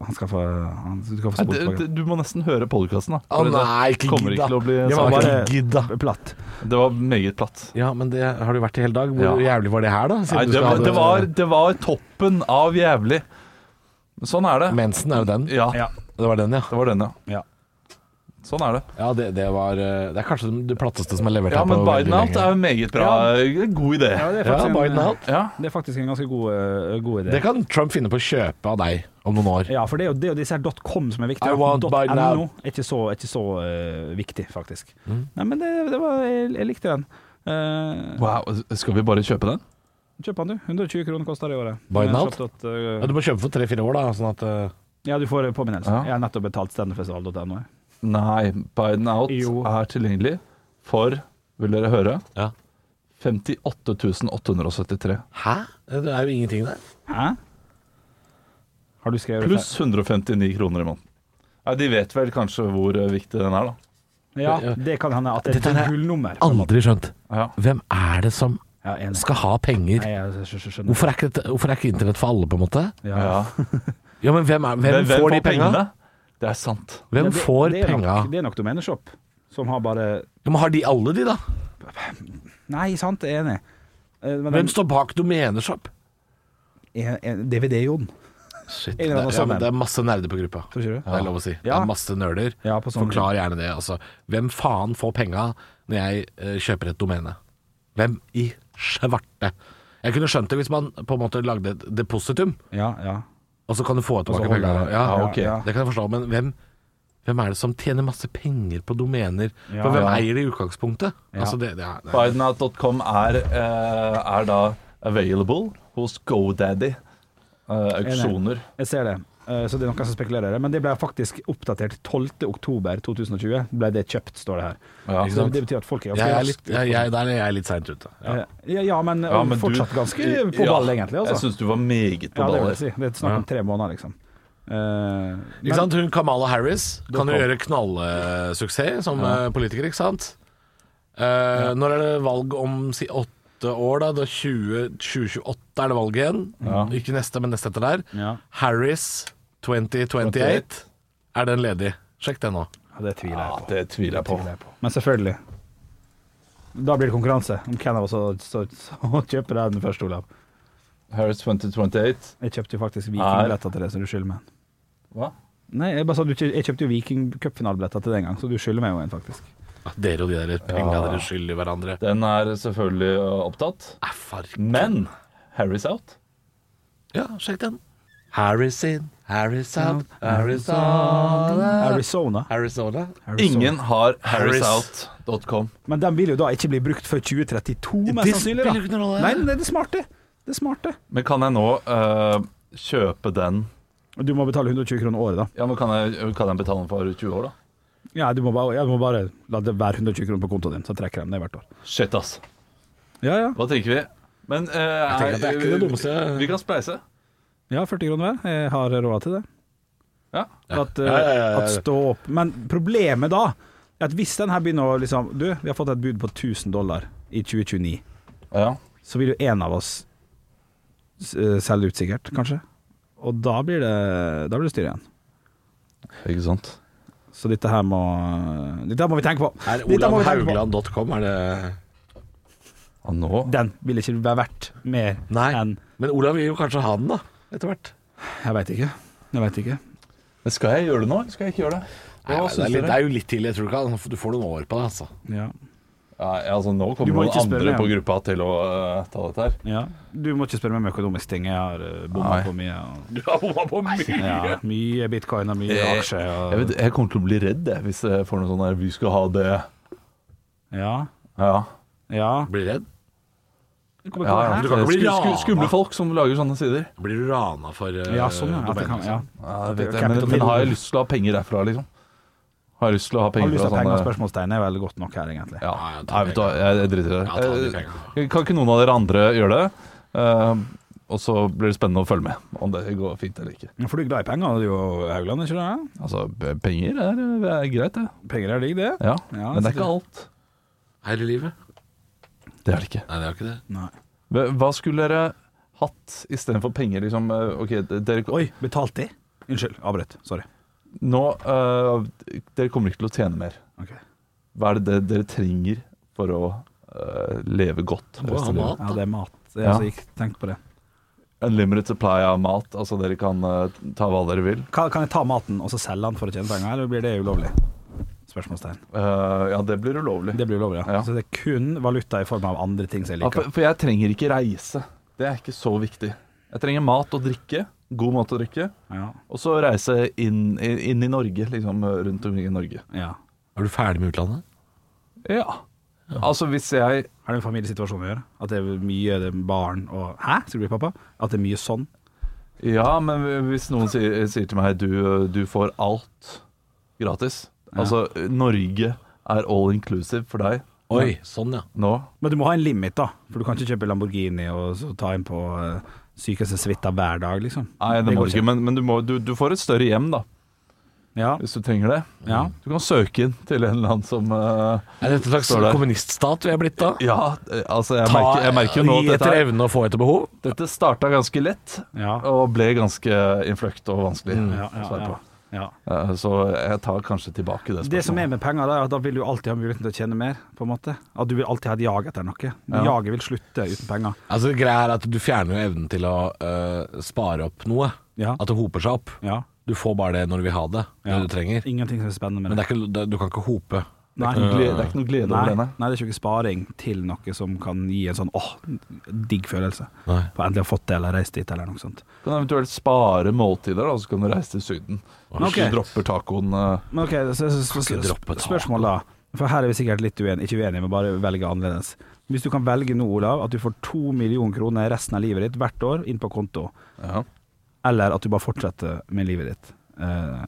Speaker 4: Han skal få, han skal få
Speaker 5: Nei,
Speaker 4: spole
Speaker 5: det-
Speaker 4: tilbake.
Speaker 5: det- du må nesten høre podkasten, da.
Speaker 3: Å
Speaker 5: For det
Speaker 3: nei, ikke
Speaker 5: kommer
Speaker 3: gidd,
Speaker 5: ikke
Speaker 3: da.
Speaker 5: til å bli
Speaker 4: Det var
Speaker 5: sak.
Speaker 4: bare
Speaker 3: Gidd, da.
Speaker 4: platt.
Speaker 5: Det var meget platt.
Speaker 3: Ja, men det har du vært i hele dag. Hvor
Speaker 5: Ja.
Speaker 3: jævlig var det her, da? Siden
Speaker 5: Nei,
Speaker 3: du
Speaker 5: det
Speaker 3: skal
Speaker 5: var,
Speaker 3: ha
Speaker 5: det, var, det var toppen av jævlig. Sånn er det.
Speaker 3: Mensen er jo den.
Speaker 5: Ja,
Speaker 4: Ja.
Speaker 3: Det var den, ja.
Speaker 5: det var den, ja.
Speaker 4: Ja.
Speaker 5: Sånn er det.
Speaker 3: Ja, Det, det var eh, Det er kanskje det platteste som er levert
Speaker 5: Ja,
Speaker 3: her.
Speaker 5: men
Speaker 3: på veldig
Speaker 5: Biden out
Speaker 3: lenge.
Speaker 5: er jo meget bra. God idé.
Speaker 4: det er
Speaker 3: Ja,
Speaker 4: faktisk en,
Speaker 3: Biden out.
Speaker 5: Ja.
Speaker 4: Det er faktisk en ganske god, eh, god idé.
Speaker 3: Det kan Trump finne på å kjøpe av deg om noen år.
Speaker 4: Ja, for det er jo, det er jo disse her .com som er viktige.
Speaker 3: I want Biden
Speaker 4: .no
Speaker 3: out. Mm.
Speaker 4: er ikke så, er ikke så eh, viktig, faktisk. Nei, men det, det var, jeg, jeg likte den. Eh,
Speaker 5: Wow, skal vi bare kjøpe den?
Speaker 4: kjøp den, du. 120 kroner koster det i året. Eh,
Speaker 3: Biden
Speaker 4: Men
Speaker 3: out?
Speaker 4: kjøpt at,
Speaker 3: Ja, du må kjøpe for tre-fire år, da. Sånn at eh,
Speaker 4: eh, ja, du får påminnelse.
Speaker 5: Ja.
Speaker 4: Jeg har nettopp betalt standfestival.no. jeg.
Speaker 5: Nei, Biden out
Speaker 4: Jo.
Speaker 5: er tilgjengelig for, vil dere høre,
Speaker 3: Ja.
Speaker 5: 58 873.
Speaker 3: Hæ? Det er jo ingenting der.
Speaker 4: Hæ? Har du skrevet
Speaker 5: Pluss 159 kroner i måneden. Nei, De vet vel kanskje hvor eh, viktig den er, da.
Speaker 4: Ja, det kan hende at det
Speaker 3: Dette
Speaker 4: er
Speaker 3: her
Speaker 4: et
Speaker 3: er
Speaker 4: gullnummer.
Speaker 3: Aldri skjønt.
Speaker 5: Ja.
Speaker 3: Hvem er det som
Speaker 4: Ja, enig.
Speaker 3: skal ha penger?
Speaker 4: Nei, jeg skjø- skjø- skjønner.
Speaker 3: Hvorfor er, ikke, dette- hvorfor er ikke internett for alle, på en måte?
Speaker 4: Ja.
Speaker 5: Ja.
Speaker 3: Ja, men hvem, er, hvem,
Speaker 5: Men
Speaker 3: får de penga?
Speaker 5: Det er sant.
Speaker 3: Hvem
Speaker 4: Ja, det-
Speaker 3: får
Speaker 4: det er nok-
Speaker 3: penga?
Speaker 4: Det er nok Domeneshop, som har bare
Speaker 3: Ja, men har de alle de, da?
Speaker 4: Nei, sant, jeg er enig. Eh, Men
Speaker 3: Hvem
Speaker 4: den,
Speaker 3: står bak Domeneshop?
Speaker 4: en- en- DVD-Jon.
Speaker 3: Shit, det,
Speaker 4: En eller annen
Speaker 3: ja,
Speaker 4: sånn
Speaker 3: men
Speaker 4: en.
Speaker 3: det er masse nerder på gruppa.
Speaker 4: Tror ikke du?
Speaker 3: Det er lov å si. Det
Speaker 4: Ja.
Speaker 3: er masse nerder.
Speaker 4: Ja, på sånn-
Speaker 3: Forklar gjerne det. Altså. Hvem faen får penga når jeg eh, kjøper et domene? Hvem i svarte? Jeg kunne skjønt det hvis man på en måte lagde et depositum,
Speaker 4: Ja, ja.
Speaker 3: og så kan du få tilbake
Speaker 4: holder
Speaker 3: penga.
Speaker 4: det.
Speaker 3: Ja,
Speaker 4: Ja,
Speaker 3: ok.
Speaker 4: ja.
Speaker 3: Det kan jeg forstå, men hvem, hvem er det som tjener masse penger på domener?
Speaker 4: Ja,
Speaker 3: For hvem
Speaker 4: ja.
Speaker 3: eier det i utgangspunktet?
Speaker 4: Ja.
Speaker 3: Altså, det, det er, det er.
Speaker 5: Bidenout.com er, eh, er da available hos GoDaddy. Eh, auksjoner.
Speaker 4: Jeg ser det. Eh, Så det er noen som spekulerer i det. Men det ble faktisk oppdatert 12.10.2020. Ble det kjøpt, står det her.
Speaker 5: Ja.
Speaker 4: Så det betyr at folk er ganske
Speaker 3: Jeg er litt,
Speaker 4: raskt
Speaker 3: jeg, jeg, der er jeg litt seint ute. Ja.
Speaker 4: Eh, Ja, ja, men,
Speaker 5: Ja,
Speaker 4: og
Speaker 5: men du-
Speaker 4: fortsatt ganske på
Speaker 5: Ja,
Speaker 4: ball, egentlig.
Speaker 5: Jeg
Speaker 4: Altså.
Speaker 5: syns du var meget på
Speaker 4: Ja, det
Speaker 5: ball.
Speaker 4: vil jeg
Speaker 5: her.
Speaker 4: si. Det er snakk om tre måneder, liksom. Eh,
Speaker 3: Ikke
Speaker 4: men-
Speaker 3: sant? Hun Kamala Harris kan jo
Speaker 4: kom.
Speaker 3: gjøre knallsuksess som eh, politiker, ikke sant? Eh, Når er det valg om si, åtte 28 år, da. da 20, 2028 er det valget igjen. Ikke neste, men neste etter der.
Speaker 4: Ja.
Speaker 3: Harris 2028. Er den ledig? Sjekk den nå.
Speaker 4: Ja, det tviler jeg på.
Speaker 5: Det tviler jeg Ah, på.
Speaker 4: Men selvfølgelig. Da blir det konkurranse om hvem av oss som- som som kjøper deg den første, Olav.
Speaker 5: Harris 2028.
Speaker 4: Jeg kjøpte jo faktisk vikingbilletter til det, så du skylder meg en.
Speaker 5: Hva?
Speaker 4: Nei, jeg bare sa du kjø- jeg kjøpte jo vikingcupfinalebilletter til det en gang, så du skylder meg jo en, faktisk.
Speaker 3: Ja, Ah, Dere og de der penga
Speaker 5: Ja.
Speaker 3: dere skylder hverandre. Ah,
Speaker 5: Den er selvfølgelig uh, opptatt.
Speaker 3: Æ, farken.
Speaker 5: Men Harris out.
Speaker 3: Ja, sjekk den. Harris in, Harris out, Arizona
Speaker 4: Arizona.
Speaker 3: Arizona.
Speaker 5: Ingen har
Speaker 3: Harris.
Speaker 5: harrisout.com.
Speaker 4: Men den vil jo da ikke bli brukt før 2032, mest
Speaker 3: Det
Speaker 4: sannsynlig.
Speaker 3: spiller jo ikke noen rolle.
Speaker 4: Nei, nei, det er smart, det. Det er smart, det.
Speaker 5: Men kan jeg nå eh, kjøpe den
Speaker 4: Og Du må betale 120 kroner året, da.
Speaker 5: Ja, men kan jeg, kan jeg betale den for 20 år, da?
Speaker 4: Ja, du må bare, ja, du må bare la det være 120 kroner på kontoen din, så trekker jeg dem ned hvert år.
Speaker 5: Shit, ass.
Speaker 4: Ja, ja.
Speaker 5: Hva tenker vi? Men eh,
Speaker 3: tenker at det er ikke det dummeste.
Speaker 5: Vi kan spleise.
Speaker 4: Ja, 40 kroner hver. Jeg har råd til det.
Speaker 5: Ja.
Speaker 4: At, eh,
Speaker 3: Ja, ja, ja, ja.
Speaker 4: at stå opp Men problemet da er at hvis den her begynner å liksom Du, vi har fått et bud på 1000 dollar i 2029.
Speaker 5: ja.
Speaker 4: Så vil jo en av oss s- eh, selge ut, sikkert, kanskje. Og da blir det Da blir det styr igjen.
Speaker 5: Ikke sant?
Speaker 4: Så dette her må Dette her må vi tenke på.
Speaker 3: Er
Speaker 4: Dette må vi tenke på.
Speaker 3: olavhaugland.com, er det
Speaker 5: Ja, nå
Speaker 4: Den vil ikke være verdt mer enn
Speaker 3: Men Olav vil jo kanskje ha den, da. Etter hvert.
Speaker 4: Jeg veit ikke. Jeg veit ikke.
Speaker 5: Men skal jeg gjøre det nå, eller skal jeg ikke gjøre det?
Speaker 3: Nei,
Speaker 5: Hva
Speaker 3: men det, er
Speaker 5: syns
Speaker 3: litt, det
Speaker 5: dere?
Speaker 3: er jo litt tidlig. Jeg tror ikke han- Du får noen år på det, altså.
Speaker 4: Ja.
Speaker 5: Nei, altså, nå
Speaker 4: Du
Speaker 5: kommer
Speaker 4: må
Speaker 5: noen
Speaker 4: ikke spørre
Speaker 5: andre
Speaker 4: meg.
Speaker 5: på gruppa til å eh, ta dette her.
Speaker 4: ja. Du må ikke spørre meg om økonomiske ting. Jeg har eh, bomma
Speaker 5: Nei.
Speaker 4: på mye. Og,
Speaker 5: Du har bomma på mye!
Speaker 4: ja, mye bitcoin og mye
Speaker 5: Jeg,
Speaker 4: aksjer. Og,
Speaker 5: jeg, vet, jeg kommer til å bli redd jeg, hvis jeg får noe sånn her Vi skal ha det
Speaker 4: Ja.
Speaker 5: Ja.
Speaker 4: Ja.
Speaker 3: Blir redd?
Speaker 4: Kommer
Speaker 5: ja,
Speaker 4: ikke
Speaker 5: ja.
Speaker 4: på
Speaker 3: Du
Speaker 4: det her.
Speaker 3: kan ikke bli
Speaker 5: Sku- sku-
Speaker 3: rana.
Speaker 5: Skumle folk som lager sånne sider.
Speaker 3: Blir du rana for eh,
Speaker 4: Ja, sånn, ja. At det
Speaker 3: domenet,
Speaker 4: kan, ja.
Speaker 3: liksom?
Speaker 5: Ja, det
Speaker 4: Det
Speaker 5: vet
Speaker 4: er
Speaker 5: jeg. Men,
Speaker 4: capital.
Speaker 5: men har jeg lyst til å ha penger derfra, liksom? Har jeg lyst til å ha
Speaker 4: Har
Speaker 5: penger
Speaker 4: du lyst
Speaker 5: fra
Speaker 4: til penger og
Speaker 5: sånne
Speaker 4: spørsmålstegn er vel godt nok her, egentlig.
Speaker 5: Ja,
Speaker 3: Nei, jeg tar
Speaker 5: Nei, vet du hva, jeg, jeg driter i
Speaker 3: Ja, ta de
Speaker 5: det.
Speaker 3: pengene.
Speaker 5: Eh, Kan ikke noen av dere andre gjøre det? Eh, og så blir det spennende å følge med, om det går fint eller ikke.
Speaker 4: For du er glad i penger, du og Haugland, ikke det?
Speaker 5: Altså, p- penger er, er greit, det.
Speaker 4: Penger er digg, det.
Speaker 5: Ja,
Speaker 4: Ja,
Speaker 5: men
Speaker 4: så
Speaker 5: det er ikke alt.
Speaker 3: Hele livet?
Speaker 5: Det er det ikke.
Speaker 3: Nei, det er jo ikke det.
Speaker 4: Nei.
Speaker 5: Hva- Hva skulle dere hatt istedenfor penger, liksom? eh, OK, d- dere
Speaker 4: Oi, betalt de? Unnskyld, avbrøt. Sorry.
Speaker 5: Nå eh, Dere kommer ikke til å tjene mer.
Speaker 4: Ok.
Speaker 5: Hva er det det dere trenger for å eh, leve godt?
Speaker 3: må ha
Speaker 5: resten av livet?
Speaker 4: Ja, det er mat. Jeg
Speaker 5: Ja.
Speaker 4: altså, ikke tenkt på det.
Speaker 5: Unlimited supply av mat. Altså, dere kan eh, ta hva dere vil.
Speaker 4: Kan, kan jeg ta maten og så selge den for å tjene penger, eller blir det ulovlig? Spørsmålstegn.
Speaker 5: Eh, ja, det blir ulovlig.
Speaker 4: Det blir ulovlig, ja.
Speaker 5: Ja.
Speaker 4: Så det er kun valuta i form av andre ting som jeg
Speaker 5: Ja,
Speaker 4: liker.
Speaker 5: for, for jeg trenger ikke reise. Det er ikke så viktig. Jeg trenger mat og drikke. God mat og drikke.
Speaker 4: Ja.
Speaker 5: Og så reise inn, inn i Norge, liksom rundt omkring i Norge.
Speaker 4: ja.
Speaker 3: Er du ferdig med utlandet?
Speaker 5: Ja. Altså hvis jeg
Speaker 4: Har det med familiesituasjonen å gjøre? At det er mye det er barn og Hæ, skal du bli pappa? At det er mye sånn?
Speaker 5: Ja, men hvis noen sier, sier til meg du, du får alt gratis. Altså Norge er all inclusive for deg
Speaker 3: Oi, sånn ja.
Speaker 5: nå.
Speaker 4: Men du må ha en limit, da. For du kan ikke kjøpe Lamborghini og så ta inn på eh, sykehusets suita hver dag, liksom.
Speaker 5: Nei, det, må
Speaker 4: går
Speaker 5: du ikke. Men, men du, må, du, du får et større hjem, da.
Speaker 4: Ja.
Speaker 5: Hvis du trenger det.
Speaker 4: ja.
Speaker 5: Du kan søke inn til en eller annen som eh,
Speaker 3: Er dette en slags
Speaker 5: Står der.
Speaker 3: kommuniststat vi er blitt da?
Speaker 5: Ja, eh, altså jeg merker, jeg merker jo nå at
Speaker 3: Gi
Speaker 5: dette
Speaker 3: etter
Speaker 5: er
Speaker 3: evne og få etter behov?
Speaker 5: Dette starta ganske lett
Speaker 4: Ja.
Speaker 5: og ble ganske innfløkt og vanskelig.
Speaker 4: Mm. Ja, ja,
Speaker 5: å svare
Speaker 4: ja.
Speaker 5: på.
Speaker 4: ja.
Speaker 5: Eh, Så jeg tar kanskje tilbake det spørsmålet.
Speaker 4: Det som er med penger, da, er at da vil du alltid ha muligheten til å tjene mer. på en måte. At Du vil alltid ha et jag etter noe. Jaget vil slutte uten penger.
Speaker 3: Altså Greia er at du fjerner jo evnen til å øh, spare opp noe.
Speaker 4: Ja.
Speaker 3: At det hoper seg opp.
Speaker 4: Ja.
Speaker 3: Du får bare det når du vil ha det. Det
Speaker 4: Ja.
Speaker 3: du trenger.
Speaker 4: Ingenting som er spennende
Speaker 3: Men
Speaker 4: med
Speaker 3: det
Speaker 4: det.
Speaker 3: er ikke, det- du kan ikke hope.
Speaker 4: Nei.
Speaker 5: Det er ikke noe glede- det er ikke noe glede
Speaker 4: Nei,
Speaker 5: over det,
Speaker 4: nei,
Speaker 5: nei.
Speaker 4: det er ikke sparing til noe som kan gi en sånn åh, digg følelse.
Speaker 3: Nei.
Speaker 4: På endelig å ha fått det, eller reist dit, eller noe sånt.
Speaker 5: Du kan eventuelt spare måltider, da, så kan du reise til Syden. Hvis
Speaker 4: Ok.
Speaker 5: du dropper tacoen eh,
Speaker 4: Men ok, så, så, så,
Speaker 3: Kan ikke
Speaker 4: så,
Speaker 3: droppe taco.
Speaker 4: spørsmål da. For her er vi sikkert litt uenige, ikke uenige, men bare velge annerledes. Hvis du kan velge nå, Olav, at du får to millioner kroner resten av livet ditt hvert år inn på konto,
Speaker 5: ja.
Speaker 4: eller at du bare fortsetter med livet ditt. Eh,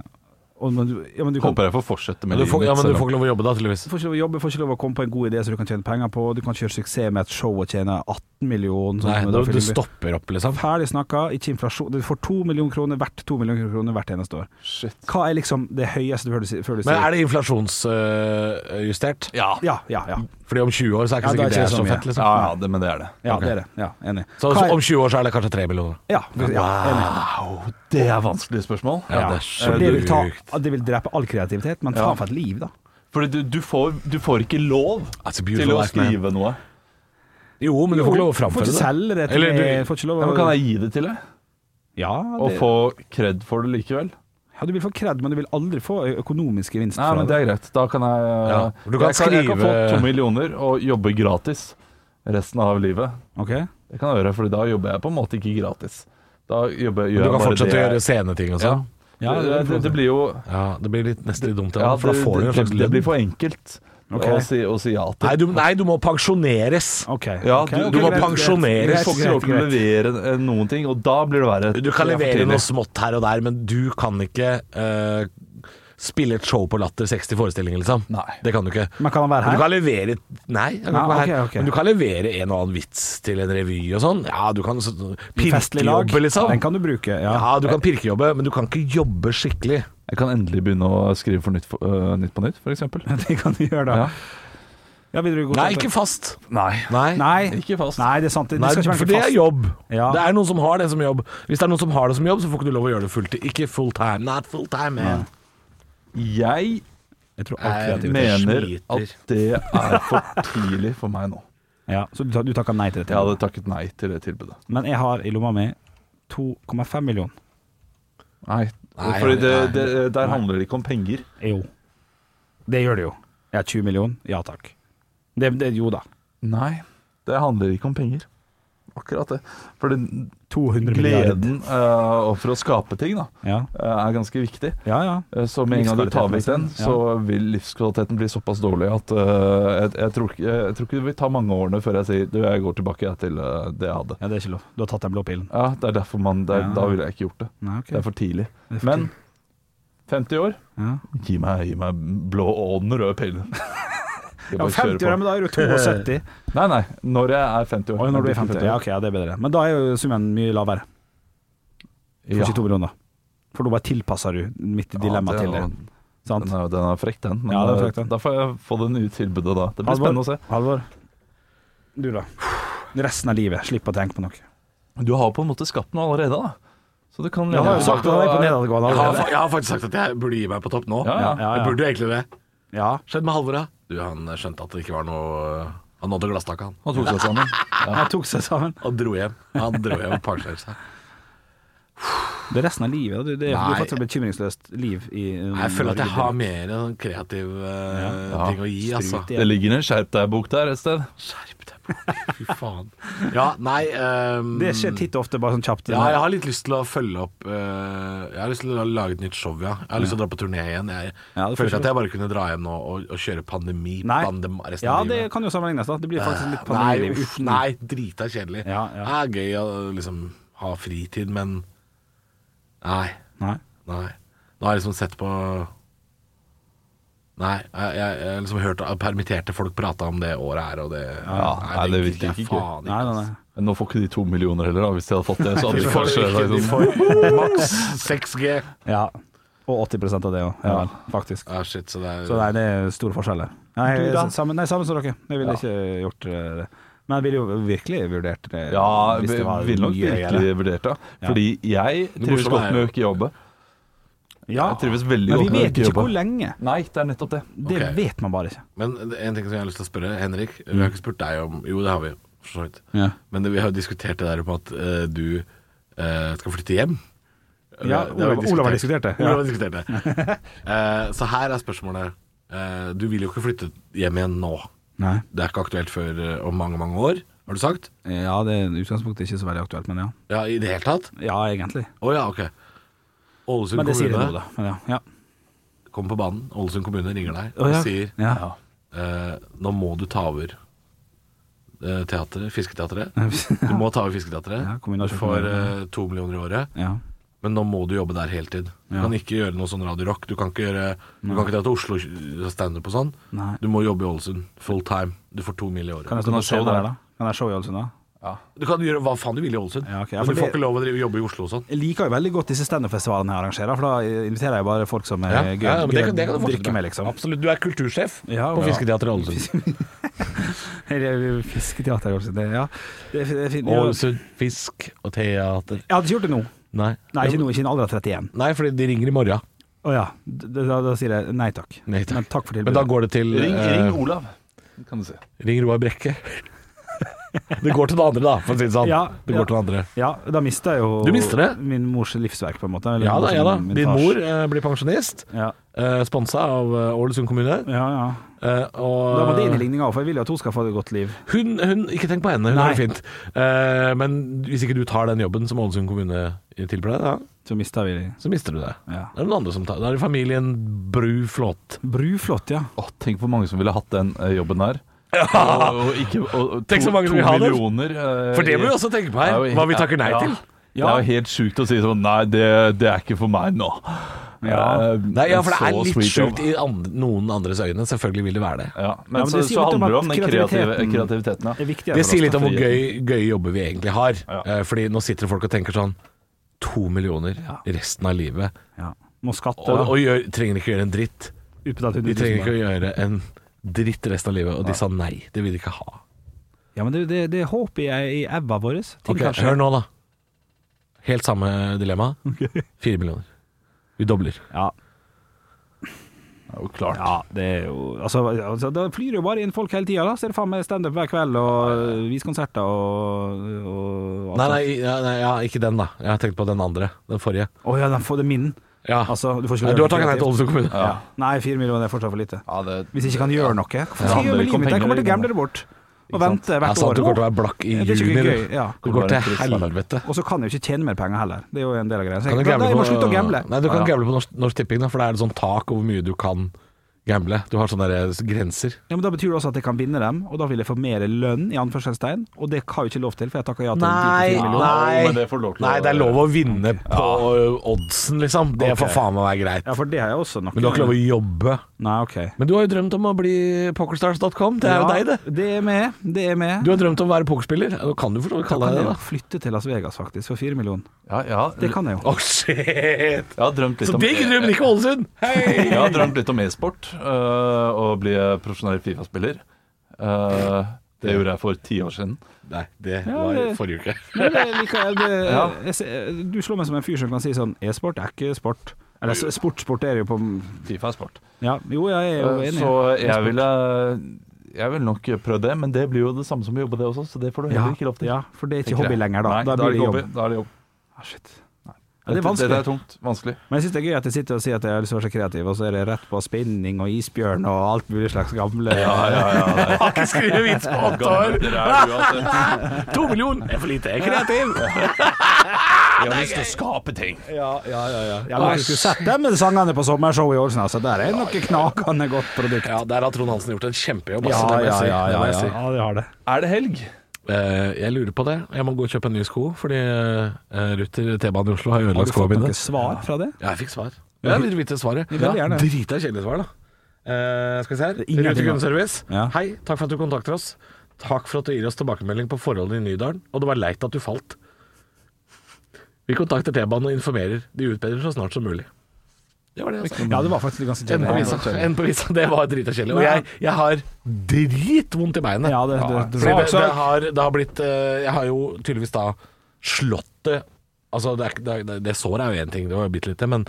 Speaker 4: og, men, du- ja, men du kan,
Speaker 5: Håper jeg får fortsette med
Speaker 3: Men du får,
Speaker 5: livet
Speaker 3: ja, men du
Speaker 5: mitt, selv om-
Speaker 3: får ikke lov å jobbe da, tydeligvis.
Speaker 4: Du får ikke lov å jobbe, får ikke lov å komme på en god idé som du kan tjene penger på. Du kan kjøre suksess med et show og tjene 18 millioner.
Speaker 3: Nei,
Speaker 4: som-
Speaker 3: Sånn, du,
Speaker 4: da-
Speaker 3: du stopper opp, liksom.
Speaker 4: Ferdig snakka, ikke inflasjon. Du får to millioner kroner hvert, to millioner kroner hvert eneste år.
Speaker 5: Shit.
Speaker 4: Hva er liksom det høyeste før du, si- før du
Speaker 3: Men
Speaker 4: sier
Speaker 3: er det inflasjonsjustert?
Speaker 5: Ja.
Speaker 4: Ja, ja, ja.
Speaker 3: Fordi om 20 år så er ikke
Speaker 4: Ja, da er
Speaker 3: sikkert det
Speaker 4: ikke
Speaker 3: er
Speaker 4: det
Speaker 3: så
Speaker 4: så mye.
Speaker 3: fett, liksom.
Speaker 5: Ja, ja, det, men det er det.
Speaker 4: Ja, det er det. Ja, enig.
Speaker 3: Så
Speaker 4: Hva er-
Speaker 3: om 20 år så er det kanskje 3 millioner.
Speaker 4: ja, ja, enig.
Speaker 5: Wow, det er vanskelige spørsmål.
Speaker 3: Ja, det er
Speaker 4: For
Speaker 3: så
Speaker 4: Eh, det, vil ta,
Speaker 3: sjukt.
Speaker 4: det vil drepe all kreativitet, men faen for et liv, da.
Speaker 5: Fordi du, du, får, du får ikke lov
Speaker 3: That's a altså,
Speaker 5: til
Speaker 3: beautiful
Speaker 5: å
Speaker 3: life, man.
Speaker 5: skrive noe.
Speaker 3: Jo, men du får ikke lov å
Speaker 4: Får
Speaker 3: framføre
Speaker 4: ikke
Speaker 3: det.
Speaker 4: selge det til
Speaker 3: Eller du-
Speaker 4: Får ikke lov
Speaker 5: Ja,
Speaker 4: å
Speaker 5: men kan jeg gi det til deg?
Speaker 4: Ja,
Speaker 5: Og
Speaker 4: det,
Speaker 5: få kred for det likevel?
Speaker 4: ja, du vil få kred, men du vil aldri få økonomisk gevinst
Speaker 5: Nei,
Speaker 4: fra
Speaker 5: men det er greit. Da kan jeg eh,
Speaker 3: Ja, for du kan
Speaker 5: jeg, kan, jeg kan få
Speaker 3: skrive-
Speaker 5: to millioner og jobbe gratis resten av livet.
Speaker 4: Ok.
Speaker 5: Det kan jeg gjøre, for da jobber jeg på en måte ikke gratis. Da jobber,
Speaker 3: Du
Speaker 5: gjør jeg
Speaker 3: kan
Speaker 5: bare
Speaker 3: fortsette å
Speaker 5: det
Speaker 3: gjøre
Speaker 5: jeg-
Speaker 3: sceneting og sånn.
Speaker 5: Ja,
Speaker 4: Ja,
Speaker 5: det, det, det blir jo
Speaker 3: Ja, det blir litt, nesten litt dumt, ja,
Speaker 5: ja,
Speaker 3: for da får du en
Speaker 5: det,
Speaker 3: slags
Speaker 5: det blir
Speaker 3: lønn.
Speaker 5: for enkelt
Speaker 4: Ok.
Speaker 5: å, si, å si ja til.
Speaker 3: Nei du, nei, du må pensjoneres.
Speaker 4: Ok.
Speaker 5: Ja,
Speaker 4: ok,
Speaker 5: du-
Speaker 4: ok,
Speaker 3: Du må
Speaker 4: greit, greit.
Speaker 5: Du
Speaker 3: pensjoneres.
Speaker 5: får ikke lov til å levere eh, noen ting, og da blir det verre.
Speaker 3: Du kan
Speaker 5: Det er for
Speaker 3: levere
Speaker 5: tidlig.
Speaker 3: noe smått her og der, men du kan ikke eh, spille et show på Latter 60 forestillinger, liksom.
Speaker 5: Nei.
Speaker 3: Det kan du ikke.
Speaker 4: Men kan han være
Speaker 3: Men
Speaker 4: her?
Speaker 3: Du kan levere Nei, jeg kan
Speaker 4: Ja,
Speaker 3: ikke være her.
Speaker 4: ok, ok.
Speaker 3: Men du kan levere en og annen vits til en revy og sånn. Ja, du kan så-
Speaker 4: Festlig lag.
Speaker 3: pirkejobbe,
Speaker 4: Den
Speaker 3: liksom.
Speaker 4: kan du bruke. Ja.
Speaker 3: Ja, du kan pirkejobbe, men du kan ikke jobbe skikkelig.
Speaker 5: Jeg kan endelig begynne å skrive for Nytt, for- øh, nytt på Nytt, f.eks.
Speaker 4: Det kan du gjøre, da.
Speaker 5: Ja.
Speaker 4: Ja, vil du gå
Speaker 3: Nei,
Speaker 4: til-
Speaker 3: ikke fast.
Speaker 5: Nei.
Speaker 3: Nei.
Speaker 4: Nei.
Speaker 5: Ikke fast.
Speaker 4: Nei, det er sant. Det, det
Speaker 3: Nei,
Speaker 4: skal ikke være
Speaker 3: for det er
Speaker 4: fast.
Speaker 3: jobb.
Speaker 4: Ja.
Speaker 3: Det er noen som har det som jobb. Hvis det er noen som har det som jobb, så får ikke du lov å gjøre det fulltid. Ikke full time. Not full time, man.
Speaker 5: Jeg
Speaker 4: Jeg tror alt
Speaker 3: Nei,
Speaker 4: kreativitet.
Speaker 5: mener
Speaker 3: sliter.
Speaker 5: at det er for tidlig for meg nå.
Speaker 4: Ja, så du, tar- du takker nei til det?
Speaker 5: Jeg hadde takket nei til det tilbudet.
Speaker 4: Men jeg har i lomma mi 2,5 millioner.
Speaker 5: Nei,
Speaker 3: Nei,
Speaker 5: Fordi det,
Speaker 3: nei.
Speaker 5: det, der handler det ikke om penger.
Speaker 4: Jo. Det gjør det jo. Jeg har 20 millioner. Ja takk. Det, det, jo da.
Speaker 5: Nei, det handler ikke om penger. Akkurat det. Fordi
Speaker 4: 200 milliarder.
Speaker 5: gleden øh, og for å skape ting da,
Speaker 4: Ja,
Speaker 5: øh, er ganske viktig.
Speaker 4: ja. ja.
Speaker 5: Eh, Så med en gang du tar vekk den,
Speaker 4: Livskvaliteten, liksom.
Speaker 5: så vil livskvaliteten bli såpass dårlig at eh, jeg, jeg, tror, ikke- jeg tror ikke det vil ta mange årene før jeg sier du, jeg går tilbake jeg, til eh, det jeg hadde.
Speaker 4: Ja, Det er ikke lov. Du har tatt den blå pilen.
Speaker 5: Ja, det er derfor man det er,
Speaker 4: Ja.
Speaker 5: Da ville jeg ikke gjort det.
Speaker 4: Nei, ok.
Speaker 5: Det er for tidlig.
Speaker 4: Det er for
Speaker 5: Men 50 år
Speaker 4: Ja.
Speaker 5: Gi meg, gi meg blå og den røde pillen.
Speaker 4: Ja,
Speaker 5: Jeg bare kjører
Speaker 4: 50 år,
Speaker 5: på.
Speaker 4: men da er du 72.
Speaker 5: Nei, nei. Når jeg er 50 år.
Speaker 4: Oi, når du
Speaker 5: Jeg
Speaker 4: er 50.
Speaker 5: år.
Speaker 4: Ja, ok, ja, det er bedre. Men da er jo summen mye lavere. For
Speaker 5: Ja.
Speaker 4: 22 millioner. For da bare tilpasser du mitt dilemma
Speaker 5: det er
Speaker 4: til det.
Speaker 5: jo-
Speaker 4: Sant?
Speaker 5: Den er, den er frekk, den. Men
Speaker 4: Ja, den er
Speaker 5: eh,
Speaker 4: frekk, den.
Speaker 5: da får jeg få det nye tilbudet da. Det blir
Speaker 4: Halvor?
Speaker 5: spennende å se.
Speaker 4: Halvor. Du, da? Resten av livet. Slipp å tenke på noe.
Speaker 5: Du har på en måte skapt noe allerede, da. Så du kan
Speaker 4: Jeg har jo sagt at han er på nedadgående
Speaker 3: Jeg har,
Speaker 4: allerede.
Speaker 3: fa- jeg har faktisk sagt at jeg burde gi meg på topp nå.
Speaker 5: Ja, ja.
Speaker 4: Ja, ja.
Speaker 3: Jeg burde jo egentlig det.
Speaker 4: Ja.
Speaker 3: Skjedd med Halvor, da. Du, han skjønte at det ikke var noe Han nådde glasstaket, han.
Speaker 5: Han tok seg sammen.
Speaker 4: Han tok seg sammen.
Speaker 3: Og dro hjem. Han dro hjem og pensjonerte seg.
Speaker 4: Det er resten av livet. da. Du, det, du
Speaker 3: Nei.
Speaker 4: har fått et bekymringsløst liv i um,
Speaker 3: Jeg føler at jeg har mer sånn kreativ eh,
Speaker 5: Ja.
Speaker 3: ting å gi, altså.
Speaker 4: Strut i-
Speaker 5: Det ligger en skjerp deg-bok der et sted.
Speaker 3: Skjerp deg, bro. fy faen. Ja, nei ehm,
Speaker 4: Det skjer titt og ofte, bare sånn kjapt.
Speaker 3: Ja, jeg har litt lyst til å følge opp eh, Jeg har lyst til å lage et nytt show, ja. Jeg har lyst til å dra på turné igjen. Jeg
Speaker 4: Ja,
Speaker 3: føler
Speaker 4: det får
Speaker 3: ikke at jeg bare kunne dra hjem nå og, og kjøre pandemi
Speaker 4: Nei.
Speaker 3: pandem, resten
Speaker 4: Ja,
Speaker 3: av
Speaker 4: det
Speaker 3: livet.
Speaker 4: kan jo sammenlignes, da. Det blir faktisk
Speaker 3: Eh,
Speaker 4: litt
Speaker 3: Nei,
Speaker 4: pandemiliv
Speaker 3: uff,
Speaker 4: uten
Speaker 3: nei, drita kjedelig.
Speaker 4: Ja, ja.
Speaker 3: Det er gøy å liksom ha fritid, men Nei.
Speaker 4: Nei.
Speaker 3: Nei. Nå har jeg liksom sett på Nei, jeg jeg- jeg har liksom hørt at permitterte folk prate om det året her, og det
Speaker 5: Ja, nei, det virker
Speaker 3: gidder jeg
Speaker 5: ikke gøy.
Speaker 3: faen
Speaker 4: Nei, nei,
Speaker 3: ass.
Speaker 4: nei.
Speaker 5: Men nå får ikke de to millioner heller, da. Hvis de hadde fått det, så hadde
Speaker 3: De
Speaker 5: de
Speaker 3: får,
Speaker 5: kanskje
Speaker 3: ikke, de får maks 6G.
Speaker 4: Ja. Og 80 av det òg, ja vel, faktisk.
Speaker 3: Ah, shit, så det er,
Speaker 4: Så nei, det er store forskjeller. Nei,
Speaker 5: Du da?
Speaker 4: samme, nei, samme som dere. Jeg ville ikke gjort eh, det. Men jeg ville jo virkelig vurdert det.
Speaker 5: Ja,
Speaker 4: hvis det var
Speaker 5: ville nok
Speaker 4: mye greier.
Speaker 5: virkelig vurdert det.
Speaker 4: Ja.
Speaker 5: Fordi jeg trives
Speaker 3: morsomme
Speaker 5: godt
Speaker 3: er
Speaker 5: med
Speaker 3: jo-
Speaker 5: å ikke jobbe.
Speaker 4: Ja.
Speaker 5: Jeg trives veldig
Speaker 4: Men
Speaker 5: godt
Speaker 4: vi
Speaker 5: med å
Speaker 4: vet
Speaker 5: ikke
Speaker 4: ikke hvor
Speaker 5: jobbe.
Speaker 4: lenge.
Speaker 5: Nei, det er nettopp det.
Speaker 4: Det
Speaker 3: Ok.
Speaker 4: vet man bare ikke.
Speaker 3: Men det er en ting som jeg har lyst til å spørre, Henrik. Vi har ikke spurt deg om Jo, det har vi, for så vidt.
Speaker 4: Ja.
Speaker 3: Men det, vi har jo diskutert det der om at eh, du eh, skal flytte hjem.
Speaker 4: Ja,
Speaker 3: Det- det vi
Speaker 4: Olav- Olav har diskutert det, ja.
Speaker 3: Olav har diskutert det. Eh, så her er spørsmålet. Eh, du vil jo ikke flytte hjem igjen nå.
Speaker 4: Nei.
Speaker 3: Det er ikke aktuelt før eh, om mange, mange år, har du sagt?
Speaker 4: Ja, det er i utgangspunktet ikke så veldig aktuelt, men ja.
Speaker 3: Ja, I det hele tatt?
Speaker 4: Ja, egentlig.
Speaker 3: Å ja, ok. Ålesund
Speaker 4: Men det sier det nå,
Speaker 3: kommune
Speaker 4: da. Men ja. ja.
Speaker 3: kommer på banen. Ålesund kommune ringer deg
Speaker 4: Å,
Speaker 3: og
Speaker 4: ja.
Speaker 3: sier
Speaker 4: ja.
Speaker 3: eh, nå må du ta over eh, teateret, Fisketeatret. Du må ta over Fisketeatret
Speaker 4: Ja, kommunen har kjøpt
Speaker 3: for
Speaker 4: kommunen.
Speaker 3: eh, to millioner i året.
Speaker 4: ja.
Speaker 3: Men nå må du jobbe der heltid. Du
Speaker 4: Ja.
Speaker 3: kan ikke gjøre noe sånn Radio Rock. Du kan ikke, gjøre, du kan ikke dra til Oslo og standup og sånn.
Speaker 4: Nei.
Speaker 3: Du må jobbe i Ålesund full time. Du får to mill. i året.
Speaker 4: Kan jeg stå
Speaker 5: ha
Speaker 4: på
Speaker 5: show
Speaker 4: scenen
Speaker 5: der.
Speaker 4: her, da? Kan jeg show i Ålesund, da?
Speaker 3: Du kan gjøre hva faen du vil i Ålesund,
Speaker 4: Ja, ok, ja, for
Speaker 3: men du får
Speaker 4: det-
Speaker 3: ikke lov å drive, jobbe i Oslo og sånn.
Speaker 4: Jeg liker jo veldig godt disse standup-festivalene jeg arrangerer, for da inviterer jeg bare folk som er
Speaker 3: Ja, ja,
Speaker 4: gøy,
Speaker 3: men
Speaker 4: gøy
Speaker 3: det kan- det kan
Speaker 4: å
Speaker 3: du fortsette med.
Speaker 4: drikke med, liksom.
Speaker 3: Absolutt. Du er kultursjef
Speaker 4: Ja,
Speaker 3: på
Speaker 4: ja.
Speaker 3: Fisketeatret Ålesund.
Speaker 4: Eller Fisketeater, kanskje. Det, ja. det, er- det er fint.
Speaker 3: Ålesund Fisk og Teater.
Speaker 4: Jeg hadde ikke gjort det nå.
Speaker 3: Nei.
Speaker 4: Nei, ikke nå, ikke i en alder av 31.
Speaker 3: Nei, fordi de ringer i morgen.
Speaker 4: Å ja. Da, da, da sier jeg nei takk.
Speaker 3: Nei, takk.
Speaker 4: Men takk for tilbudet.
Speaker 3: Men da går det til
Speaker 5: Ring,
Speaker 3: eh,
Speaker 5: ring Olav, kan du si.
Speaker 3: ring Roar Brekke. det går til det andre, da, for å si det sånn.
Speaker 4: Ja,
Speaker 3: det
Speaker 4: ja.
Speaker 3: går til det andre.
Speaker 4: Ja, da mister jeg jo
Speaker 3: Du mister det?
Speaker 4: min mors livsverk, på en måte. eller
Speaker 3: Ja da,
Speaker 4: min-
Speaker 3: ja da.
Speaker 4: min
Speaker 3: Din
Speaker 4: fars.
Speaker 3: mor eh, blir pensjonist,
Speaker 4: Ja,
Speaker 3: eh, sponsa av eh, Ålesund kommune.
Speaker 4: ja. ja.
Speaker 3: eh, og
Speaker 4: Da må det inn i ligninga òg, for jeg vil jo at hun skal få et godt liv.
Speaker 3: Hun, hun, ikke tenk på henne, hun
Speaker 4: Nei.
Speaker 3: har det fint. Eh, men hvis ikke du tar den jobben som Ålesund kommune tilbyr deg, da,
Speaker 4: Så mister vi
Speaker 3: så mister du det.
Speaker 4: ja.
Speaker 3: Det er noen andre som tar Da er det familien Bru Flåt.
Speaker 4: Bruflott, ja.
Speaker 5: Å, tenk hvor mange som ville hatt den eh, jobben der. Og, og ikke, og, og
Speaker 3: Tenk så mange som
Speaker 5: to
Speaker 3: vil ha den.
Speaker 5: millioner. eh,
Speaker 3: For det må vi
Speaker 5: i-
Speaker 3: også tenke på
Speaker 5: Det
Speaker 3: her,
Speaker 5: er jo-
Speaker 3: hva vi takker nei
Speaker 5: ja.
Speaker 3: til.
Speaker 5: Det er jo helt sjukt å si sånn Nei, det, det er ikke for meg nå.
Speaker 4: Ja.
Speaker 5: Eh,
Speaker 3: Nei, ja, for det
Speaker 5: så
Speaker 3: er litt
Speaker 5: sweet job.
Speaker 3: sjukt i and noen andres øyne. Selvfølgelig vil det være det.
Speaker 5: Ja, men,
Speaker 4: Ja, men
Speaker 5: så,
Speaker 4: det
Speaker 5: så
Speaker 4: sier litt om
Speaker 5: handler det om
Speaker 4: at
Speaker 5: den kreative, eh,
Speaker 4: kreativiteten-
Speaker 5: kreativiteten.
Speaker 4: Det er
Speaker 5: Ja.
Speaker 4: viktig.
Speaker 3: Det sier litt om hvor gøy,
Speaker 5: Friheten.
Speaker 3: gøye jobber vi egentlig har.
Speaker 5: Ja.
Speaker 3: Eh, Fordi nå sitter det folk og tenker sånn To millioner resten av livet.
Speaker 4: Ja. Må skatte,
Speaker 3: Og,
Speaker 4: da.
Speaker 3: og gjør, trenger ikke gjøre en dritt.
Speaker 4: Utbetalt
Speaker 3: De
Speaker 4: 100 000.
Speaker 3: trenger ikke å gjøre en dritt resten av livet. Og de sa nei, det vil de ikke ha.
Speaker 4: Ja, men det, det, det er håp i, i ebba vår. Ting
Speaker 3: Ok,
Speaker 4: kan skje.
Speaker 3: Hør nå, da. Helt samme dilemma. Fire millioner. Vi dobler.
Speaker 4: Ja,
Speaker 5: Det er jo klart.
Speaker 4: ja, det er jo altså, altså, Da flyr det jo bare inn folk hele tida, da. Så er det faen meg standup hver kveld og øh, visekonserter og, og alt
Speaker 3: Nei,
Speaker 4: sånt.
Speaker 3: nei, ja, nei ja, ikke den, da. Jeg har tenkt på den andre. Den forrige.
Speaker 4: Å ja, den får det min.
Speaker 3: Ja.
Speaker 4: Altså, du får
Speaker 3: Nei,
Speaker 4: ikke gjøre
Speaker 3: du
Speaker 4: det
Speaker 3: har takket nei til
Speaker 4: kreativt.
Speaker 3: Ålesund kommune.
Speaker 4: Ja. Nei, fire millioner er fortsatt for lite.
Speaker 5: Ja, det,
Speaker 4: Hvis jeg ikke kan gjøre noe. Hvorfor skal
Speaker 5: Det
Speaker 4: jeg
Speaker 5: handler
Speaker 4: gjøre med
Speaker 5: ikke om
Speaker 4: livet mitt? Jeg kommer til å
Speaker 5: penger,
Speaker 4: gamble det bort. Og
Speaker 5: sant?
Speaker 4: vente
Speaker 3: Det
Speaker 4: hvert
Speaker 3: er sant
Speaker 4: år.
Speaker 3: du kommer til å være blakk i
Speaker 4: Ja, det er ikke
Speaker 3: juni.
Speaker 4: gøy,
Speaker 3: du.
Speaker 4: ja.
Speaker 3: Du går
Speaker 5: Det er
Speaker 3: til
Speaker 5: bare en
Speaker 3: helvete.
Speaker 4: Og så kan jeg jo ikke tjene mer penger heller. Det er jo en del av greia. Så
Speaker 3: Kan du
Speaker 4: jeg, da,
Speaker 3: gamble
Speaker 4: da jeg må slutte å gamble.
Speaker 3: Nei, du kan
Speaker 4: ja.
Speaker 3: gamble på norsk, norsk Tipping, da, for det er et sånt tak over hvor mye du kan gamble. Du har sånne der eh, grenser.
Speaker 4: Ja, men Da betyr det også at jeg kan vinne dem, og da vil jeg få mer lønn, i anførselstegn. Og det har jeg jo ikke lov til, for jeg takka ja til
Speaker 3: Nei,
Speaker 4: de fire millionene.
Speaker 5: nei.
Speaker 3: nei.
Speaker 5: Men det får lov til å-
Speaker 3: Nei, det er lov å vinne på ø, oddsen, liksom. Det
Speaker 4: Ok.
Speaker 3: får faen meg være greit.
Speaker 4: Ja, for det har jeg også nok.
Speaker 3: Men du har ikke lov å jobbe.
Speaker 4: Nei, ok.
Speaker 3: Men du har jo drømt om å bli pokerstars.com. Det er jo deg, det.
Speaker 4: Det er med. Det er med.
Speaker 3: Du har drømt om å være pokerspiller. Nå kan du for så vidt
Speaker 4: Da
Speaker 3: kalle
Speaker 4: kan
Speaker 3: deg det,
Speaker 4: jeg jo
Speaker 3: da.
Speaker 4: flytte til Las Vegas, faktisk, for fire millioner.
Speaker 5: ja, ja,
Speaker 4: Det kan jeg jo.
Speaker 3: Å, shit!
Speaker 5: Jeg har drømt
Speaker 3: Så
Speaker 5: litt om
Speaker 3: digg! Du drømmer ikke Ålesund! Hei!
Speaker 5: Jeg har drømt litt om e-sport øh, og bli profesjonell Fifa-spiller. Eh, det gjorde jeg for ti år siden.
Speaker 3: Nei, det
Speaker 4: var det-
Speaker 3: forrige uke.
Speaker 4: Men det liker jeg. Det, jeg ser- du slår meg som en fyr som kan si sånn E-sport er ikke sport. Eller s- sport, sport er jo på
Speaker 5: Fifa er sport.
Speaker 4: Ja, jo, jeg er jo
Speaker 5: Eh,
Speaker 4: enig.
Speaker 5: så jeg ville jeg vil nok prøvd det, men det blir jo det samme som å jobbe det også, så det får du
Speaker 4: ja,
Speaker 5: heller ikke lov til.
Speaker 4: ja, for det er ikke
Speaker 5: tenker jeg.
Speaker 4: hobby lenger, da.
Speaker 5: Nei,
Speaker 4: da blir det
Speaker 5: ikke
Speaker 4: jobb.
Speaker 5: hobby, Da er det jobb.
Speaker 4: Ah, shit. Ja,
Speaker 5: Dette-
Speaker 4: det er vanskelig.
Speaker 5: Dette er tungt. Vanskelig.
Speaker 4: Men jeg syns det er gøy at jeg sitter og sier at jeg har lyst til å være så kreativ, og så er det rett på spinning og isbjørn og alt mulig slags gamle
Speaker 3: Jeg har ikke skrevet vits på åtte år! To millioner! Det er for lite. Jeg er kreativ.
Speaker 5: Jeg har lyst til å skape ting.
Speaker 4: Ja, men du skulle sett dem med sangene på sommershowet i Ålesund, altså. Der er noe knakende godt produkt.
Speaker 3: Ja, der har Trond Hansen gjort en kjempejobb. ass. Det må jeg si. Det må jeg si.
Speaker 4: ja, det har det.
Speaker 5: Er det helg?
Speaker 3: Eh, Jeg lurer på det. Jeg må gå og kjøpe nye sko, fordi eh, Ruter T-banen i Oslo har
Speaker 4: Har
Speaker 3: ødelagt
Speaker 4: du fått
Speaker 3: skoene mine.
Speaker 4: noe svar fra det?
Speaker 3: Ja, jeg fikk svar. Jeg vil vite svaret.
Speaker 4: Vi vil gjerne.
Speaker 3: Drita kjedelig svar, da. Eh, skal vi se her.
Speaker 4: Ingenting,
Speaker 3: Rute
Speaker 4: da.
Speaker 3: kundeservice.
Speaker 4: Ja.
Speaker 3: Hei, takk for at du kontakter oss. Takk for at du gir oss tilbakemelding på forholdene i Nydalen, og det var leit at du falt. Vi kontakter T-banen og informerer. De utbedrer så snart som mulig. Det var det. Altså.
Speaker 4: Ja, det var faktisk ganske
Speaker 3: Enden på
Speaker 4: kjedelig.
Speaker 3: visa. Enden på visa. Det var drita kjedelig. Og jeg, jeg har dritvondt i beinet.
Speaker 4: Ja, det, det, det,
Speaker 3: Fordi det,
Speaker 4: så-
Speaker 3: det, har, det har blitt eh, Jeg har jo tydeligvis da slått det Altså, det, er, ikke- det, er- det såret er jo én ting, det var jo bitte lite, men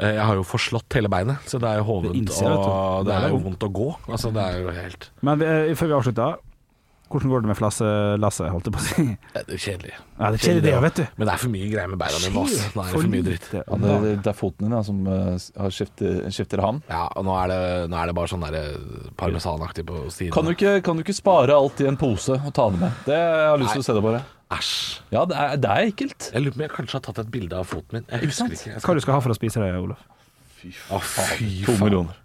Speaker 3: eh, jeg har jo forslått hele beinet. Så det er jo hovent,
Speaker 4: Det innser jeg, vet
Speaker 3: og det
Speaker 4: du. Det
Speaker 3: er
Speaker 4: er
Speaker 3: jo
Speaker 4: jo-
Speaker 3: vondt å gå. Altså, det er jo helt
Speaker 4: Men eh, før vi avslutter, hvordan går det med Flasse Lasse, holdt jeg på å si?
Speaker 3: det er kjedelig.
Speaker 4: Ja, det er kjedelig det, vet du.
Speaker 3: Men det er for mye greier med beina mine, ass. Nå er det for mye dritt.
Speaker 4: lite.
Speaker 5: Ja, det, det er foten din da, som eh, har skifter, skifter ham.
Speaker 3: Ja, og nå er det, nå er det bare sånn derre parmesanaktig på siden.
Speaker 5: Kan du, ikke, kan du ikke spare alt i en pose og ta det med? Det jeg har lyst til å se det bare.
Speaker 3: Æsj.
Speaker 5: Ja, det er, det er ekkelt.
Speaker 3: Jeg lurer på om jeg kanskje har tatt et bilde av foten min. Jeg husker
Speaker 5: sant?
Speaker 3: ikke. Jeg
Speaker 4: Hva du skal ha for å spise det, Olof?
Speaker 3: Å, fy
Speaker 5: To
Speaker 3: faen.
Speaker 5: millioner.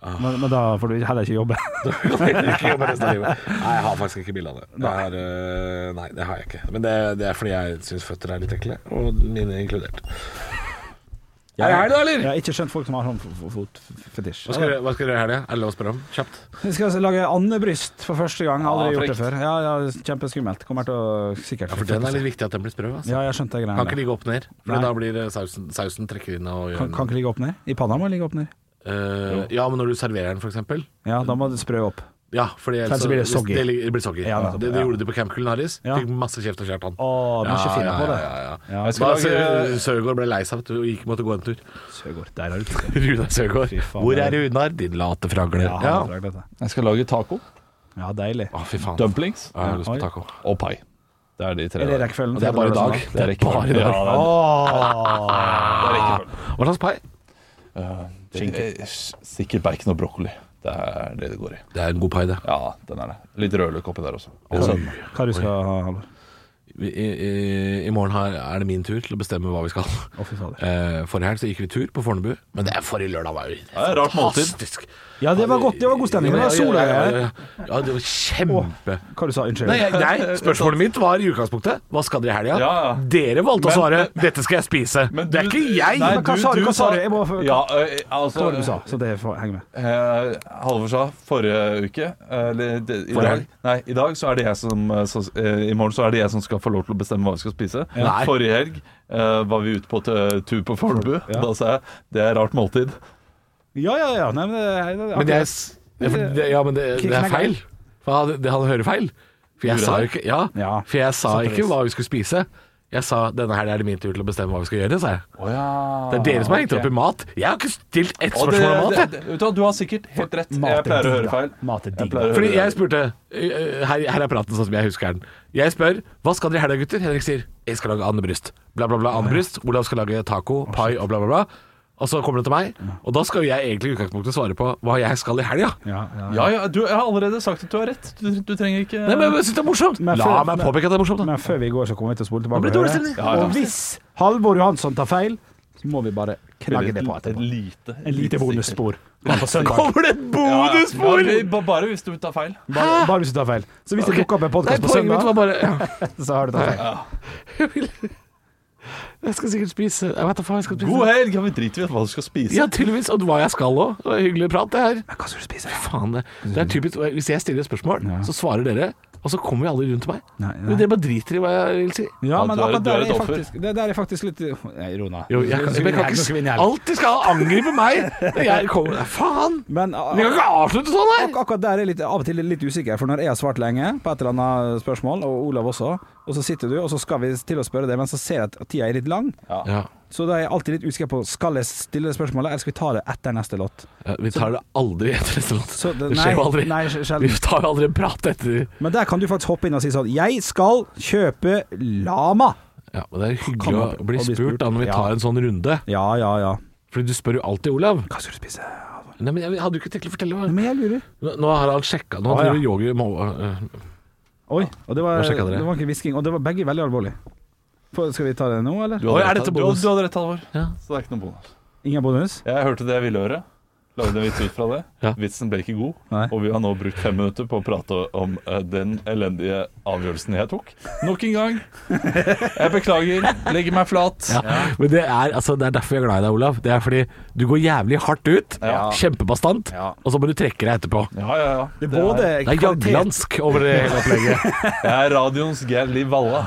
Speaker 3: Ah.
Speaker 4: Men, men da får du heller ikke jobbe.
Speaker 3: ikke jobbe resten av livet. Nei, jeg har faktisk ikke bilde av det. Jeg har, øh, nei, det har jeg ikke. Men det, det er fordi jeg syns føtter er litt ekle, og mine inkludert. Er det helg, da, eller?
Speaker 4: Jeg har ikke skjønt folk som har sånn fo- fo- fotfetisj.
Speaker 3: Hva skal dere- hva skal dere i helga? Er det lov å spørre om? Kjapt.
Speaker 4: Vi skal altså lage andebryst for første gang.
Speaker 3: Ah,
Speaker 4: Aldri
Speaker 5: Ja,
Speaker 4: gjort det
Speaker 5: frekt.
Speaker 4: før. Ja, ja, Kjempeskummelt. Kommer til å sikkert
Speaker 3: Ja, for den er litt viktig at den blir sprø. Altså.
Speaker 4: Ja, jeg skjønte det
Speaker 3: Kan
Speaker 4: greiene
Speaker 3: ikke
Speaker 4: der.
Speaker 3: ligge opp ned, for
Speaker 4: Nei.
Speaker 3: da blir eh, sausen, sausen trekker inn og gjør
Speaker 4: Kan, kan ikke ligge opp ned? I panna må den ligge opp ned.
Speaker 3: Eh, Ja, men når du serverer den, for eksempel.
Speaker 4: Ja, da må det sprø opp.
Speaker 3: Ja, fordi ellers
Speaker 4: Ellers blir det
Speaker 3: hvis
Speaker 4: soggy.
Speaker 3: Det, ligger- det blir soggy.
Speaker 4: Ja,
Speaker 3: det, det
Speaker 4: ja.
Speaker 3: gjorde de på Camp Culinaris.
Speaker 4: Ja.
Speaker 3: Fikk masse kjeft og kjærtann.
Speaker 4: Å, du må ikke finne på
Speaker 3: Ja,
Speaker 4: det.
Speaker 3: ja, ja.
Speaker 4: Ja.
Speaker 5: Jeg
Speaker 3: Da
Speaker 5: skal lage
Speaker 3: Sø- Søgaard eh, ble lei seg vet du, og gikk, måtte gå en tur.
Speaker 4: Søgaard, der er du.
Speaker 3: Runar Søgaard.
Speaker 4: Fy faen,
Speaker 3: Hvor
Speaker 4: det er-
Speaker 3: er Runar, din late fragler? Ja.
Speaker 4: Ja, han har draglet det.
Speaker 5: Jeg skal lage taco,
Speaker 4: ja, deilig.
Speaker 3: Å, fy faen.
Speaker 5: dumplings
Speaker 3: Ja, jeg har lyst på
Speaker 4: Oi.
Speaker 3: taco.
Speaker 5: og pai. Det er de tre.
Speaker 4: Er det
Speaker 5: der.
Speaker 4: rekkefølgen?
Speaker 5: Det er bare i dag.
Speaker 3: Det er
Speaker 5: rekkefølgen.
Speaker 3: bare i dag.
Speaker 5: Ja, det er-
Speaker 3: Hva slags pai?
Speaker 5: Eh, s- Sikkert bacon og brokkoli. Det er det det går i.
Speaker 3: Det er en god pai, det.
Speaker 5: Ja, den er det. Litt rødløk oppi der også. Litt
Speaker 4: Hva
Speaker 5: sødme.
Speaker 4: hva du skal ha, Halvor?
Speaker 3: I, i, I morgen har, er det min tur til å bestemme hva vi skal.
Speaker 4: Å, fy fader.
Speaker 3: Eh, forrige helg så gikk vi tur på Fornebu, men det er forrige lørdag var jo
Speaker 5: er rart måltid.
Speaker 3: fantastisk.
Speaker 4: Ja, det var godt. Det var god stemning. Det var sol
Speaker 3: ja,
Speaker 4: her.
Speaker 3: ja, ja, ja. ja, det var kjempe...
Speaker 4: Hva du sa Unnskyld.
Speaker 3: Nei, jeg- nei, spørsmålet mitt var i utgangspunktet Hva skal dere i helga?
Speaker 5: Ja, ja.
Speaker 3: Dere valgte å
Speaker 5: Men-
Speaker 3: svare 'dette skal jeg spise'.
Speaker 5: Men
Speaker 3: det er
Speaker 5: du-
Speaker 3: ikke jeg!
Speaker 5: Nei,
Speaker 4: Men hva sa du? Hva sa du? Jeg må få-
Speaker 5: Ja, eh, altså
Speaker 4: Hva var det du sa? Så det får henge med.
Speaker 5: Eh, Halvor sa forrige uke eh, eller, det, i
Speaker 3: Forrige
Speaker 5: dag,
Speaker 3: helg.
Speaker 5: Nei, i dag så er det jeg som eh, så, eh, I morgen så er det jeg som skal få lov til å bestemme hva vi skal spise.
Speaker 3: Nei.
Speaker 5: Forrige helg eh, var vi ute på t- tur på Fornebu. Da sa jeg det er rart måltid.
Speaker 4: Ja, ja, ja. Nei, men det, det, det,
Speaker 3: Men jeg s- ja, for det, ja, men det, det er feil. For han, det, han hører feil. For jeg
Speaker 5: Gjorde
Speaker 3: sa
Speaker 5: han?
Speaker 3: jo ikke Ja,
Speaker 4: Ja,
Speaker 3: for jeg sa
Speaker 4: sant og
Speaker 3: ikke
Speaker 4: visst.
Speaker 3: hva vi skulle spise. Jeg sa 'denne helga er det min tur til å bestemme hva vi skal gjøre', sa jeg. Det er dere som har hengt opp i mat. Jeg har ikke stilt ett
Speaker 5: Ah, Og det,
Speaker 3: spørsmål om mat.
Speaker 5: det,
Speaker 3: jeg.
Speaker 5: det, vet du, hva, du har sikkert helt rett.
Speaker 4: Mat er
Speaker 5: Jeg pleier å
Speaker 4: digg,
Speaker 5: høre
Speaker 4: da.
Speaker 5: feil.
Speaker 4: Mat er digg,
Speaker 5: pleier
Speaker 4: da.
Speaker 5: å høre
Speaker 3: Fordi jeg
Speaker 5: det.
Speaker 3: spurte eh, her, her er praten sånn som jeg husker den. Jeg spør hva skal dere i helga, gutter? Henrik sier jeg skal lage andebryst. Bla, bla, bla. Andebryst. Olav skal lage taco, pai og bla, bla, bla. Og så kommer det til meg, og da skal jo jeg egentlig i utgangspunktet svare på hva jeg skal i helga.
Speaker 4: Ja, ja.
Speaker 5: Ja, ja, du, jeg har allerede sagt at du har rett. Du, du trenger ikke
Speaker 3: Nei, men jeg syns det er morsomt.
Speaker 4: Men
Speaker 3: La
Speaker 4: før-
Speaker 3: meg påpeke at det er morsomt, da.
Speaker 4: Men før vi går, så kommer vi til å spole tilbake.
Speaker 3: Nå blir det
Speaker 4: og
Speaker 3: dårlig
Speaker 4: høre.
Speaker 3: stemning.
Speaker 5: Ja, ja.
Speaker 4: Og hvis Halvor Johansson tar feil, så må vi bare knagge det på
Speaker 5: Et
Speaker 4: etterpå.
Speaker 5: lite,
Speaker 4: En lite bonusspor. Bare på søndag.
Speaker 3: Kommer det et
Speaker 5: Ja, ja.
Speaker 3: bonusspor?!
Speaker 5: Ja, ba- bare hvis du tar feil.
Speaker 4: Bare, bare hvis du tar feil. Så hvis det dukker opp en
Speaker 3: Nei,
Speaker 4: podkast på
Speaker 3: poenget mitt
Speaker 4: søndag,
Speaker 3: var bare ja.
Speaker 4: så har du tatt feil.
Speaker 3: jeg, vil, jeg skal sikkert spise Jeg vet da faen hva jeg skal spise.
Speaker 5: God helg! Ja, vi driter i hva du skal spise.
Speaker 3: Ja, tydeligvis. Og hva jeg skal òg. Hyggelig prat, det her.
Speaker 4: Men hva skal du spise?
Speaker 3: Faen, det, det er typisk Hvis jeg stiller et spørsmål, så svarer dere, og så kommer jo alle rundt meg.
Speaker 4: Nei, nei.
Speaker 3: Men dere bare driter i hva jeg vil si.
Speaker 4: Ja,
Speaker 5: Ja,
Speaker 4: men
Speaker 5: du er-
Speaker 4: akkurat
Speaker 5: du er
Speaker 4: der er
Speaker 5: et
Speaker 4: jeg
Speaker 5: offer.
Speaker 4: faktisk, det der er jeg faktisk litt Nei, Rona.
Speaker 3: Jo, jeg, kan-
Speaker 4: Nå skal vi
Speaker 3: jeg
Speaker 4: inn i
Speaker 3: kan
Speaker 4: helg, nå skal vi inn i
Speaker 3: ikke
Speaker 4: helg.
Speaker 3: alltid skal angripe meg! Jeg kommer, nei, faen!
Speaker 4: Men ah,
Speaker 3: Vi kan ikke avslutte sånn her!
Speaker 4: ak akkurat der er jeg litt, av og til litt usikker, for når jeg har svart lenge på et eller annet spørsmål, og Olav også, og så sitter du, og så skal vi til å spørre deg, men så ser jeg at tida er litt lang,
Speaker 3: Ja,
Speaker 4: så da er jeg alltid litt usikker på skal jeg stille det spørsmålet, eller skal vi ta det etter neste låt?
Speaker 3: ja, vi tar det aldri etter neste låt.
Speaker 4: Så det-
Speaker 3: Det skjer jo aldri.
Speaker 4: Nei, sj-
Speaker 3: Vi
Speaker 4: sjelden.
Speaker 3: tar jo aldri en prat etter.
Speaker 4: Men der kan du faktisk hoppe inn og si sånn Jeg skal kjøpe lama!
Speaker 3: Ja, men Det er
Speaker 4: Kan
Speaker 3: hyggelig
Speaker 4: man-
Speaker 3: å bli spurt da når vi
Speaker 4: Ja.
Speaker 3: tar en sånn runde.
Speaker 4: Ja, ja, ja.
Speaker 3: Fordi du spør jo alltid Olav.
Speaker 4: Hva skal du spise? Halvor?
Speaker 3: Nei, men Jeg hadde jo ikke tenkt å fortelle. hva-
Speaker 4: Men jeg lurer.
Speaker 3: Nå nå har han sjekka. Nå
Speaker 4: Å, ja.
Speaker 3: driver Yogi øh, med
Speaker 4: Oi, og det
Speaker 3: Nå
Speaker 4: var,
Speaker 3: sjekket dere.
Speaker 4: det var ikke hvisking, og det var begge veldig alvorlig. For, skal vi ta det nå, eller?
Speaker 5: Du hadde,
Speaker 3: Oi, er
Speaker 5: rett,
Speaker 3: dette
Speaker 5: du, hadde-
Speaker 3: bonus?
Speaker 5: du hadde rett, Halvor.
Speaker 3: Ja.
Speaker 5: Så det er ikke noe bonus.
Speaker 4: Ingen bonus?
Speaker 5: Jeg hørte det jeg ville høre. Lagde en vits ut fra det.
Speaker 3: Ja.
Speaker 5: Vitsen ble ikke god,
Speaker 4: Nei.
Speaker 5: og vi har nå brukt fem minutter på å prate om eh, den elendige avgjørelsen jeg tok. Nok en gang. Jeg beklager. Legger meg flat.
Speaker 3: Men det er, altså, det er derfor jeg er glad i deg, Olav. Det er fordi du går jævlig hardt ut,
Speaker 5: Ja.
Speaker 3: kjempebastant,
Speaker 4: Ja.
Speaker 3: og så må du trekke deg etterpå.
Speaker 5: Ja, ja, ja.
Speaker 4: Det er både
Speaker 3: Det er
Speaker 4: kvalitet
Speaker 3: jaglansk over det hele opplegget.
Speaker 5: Jeg er radioens Geir Liv Valla.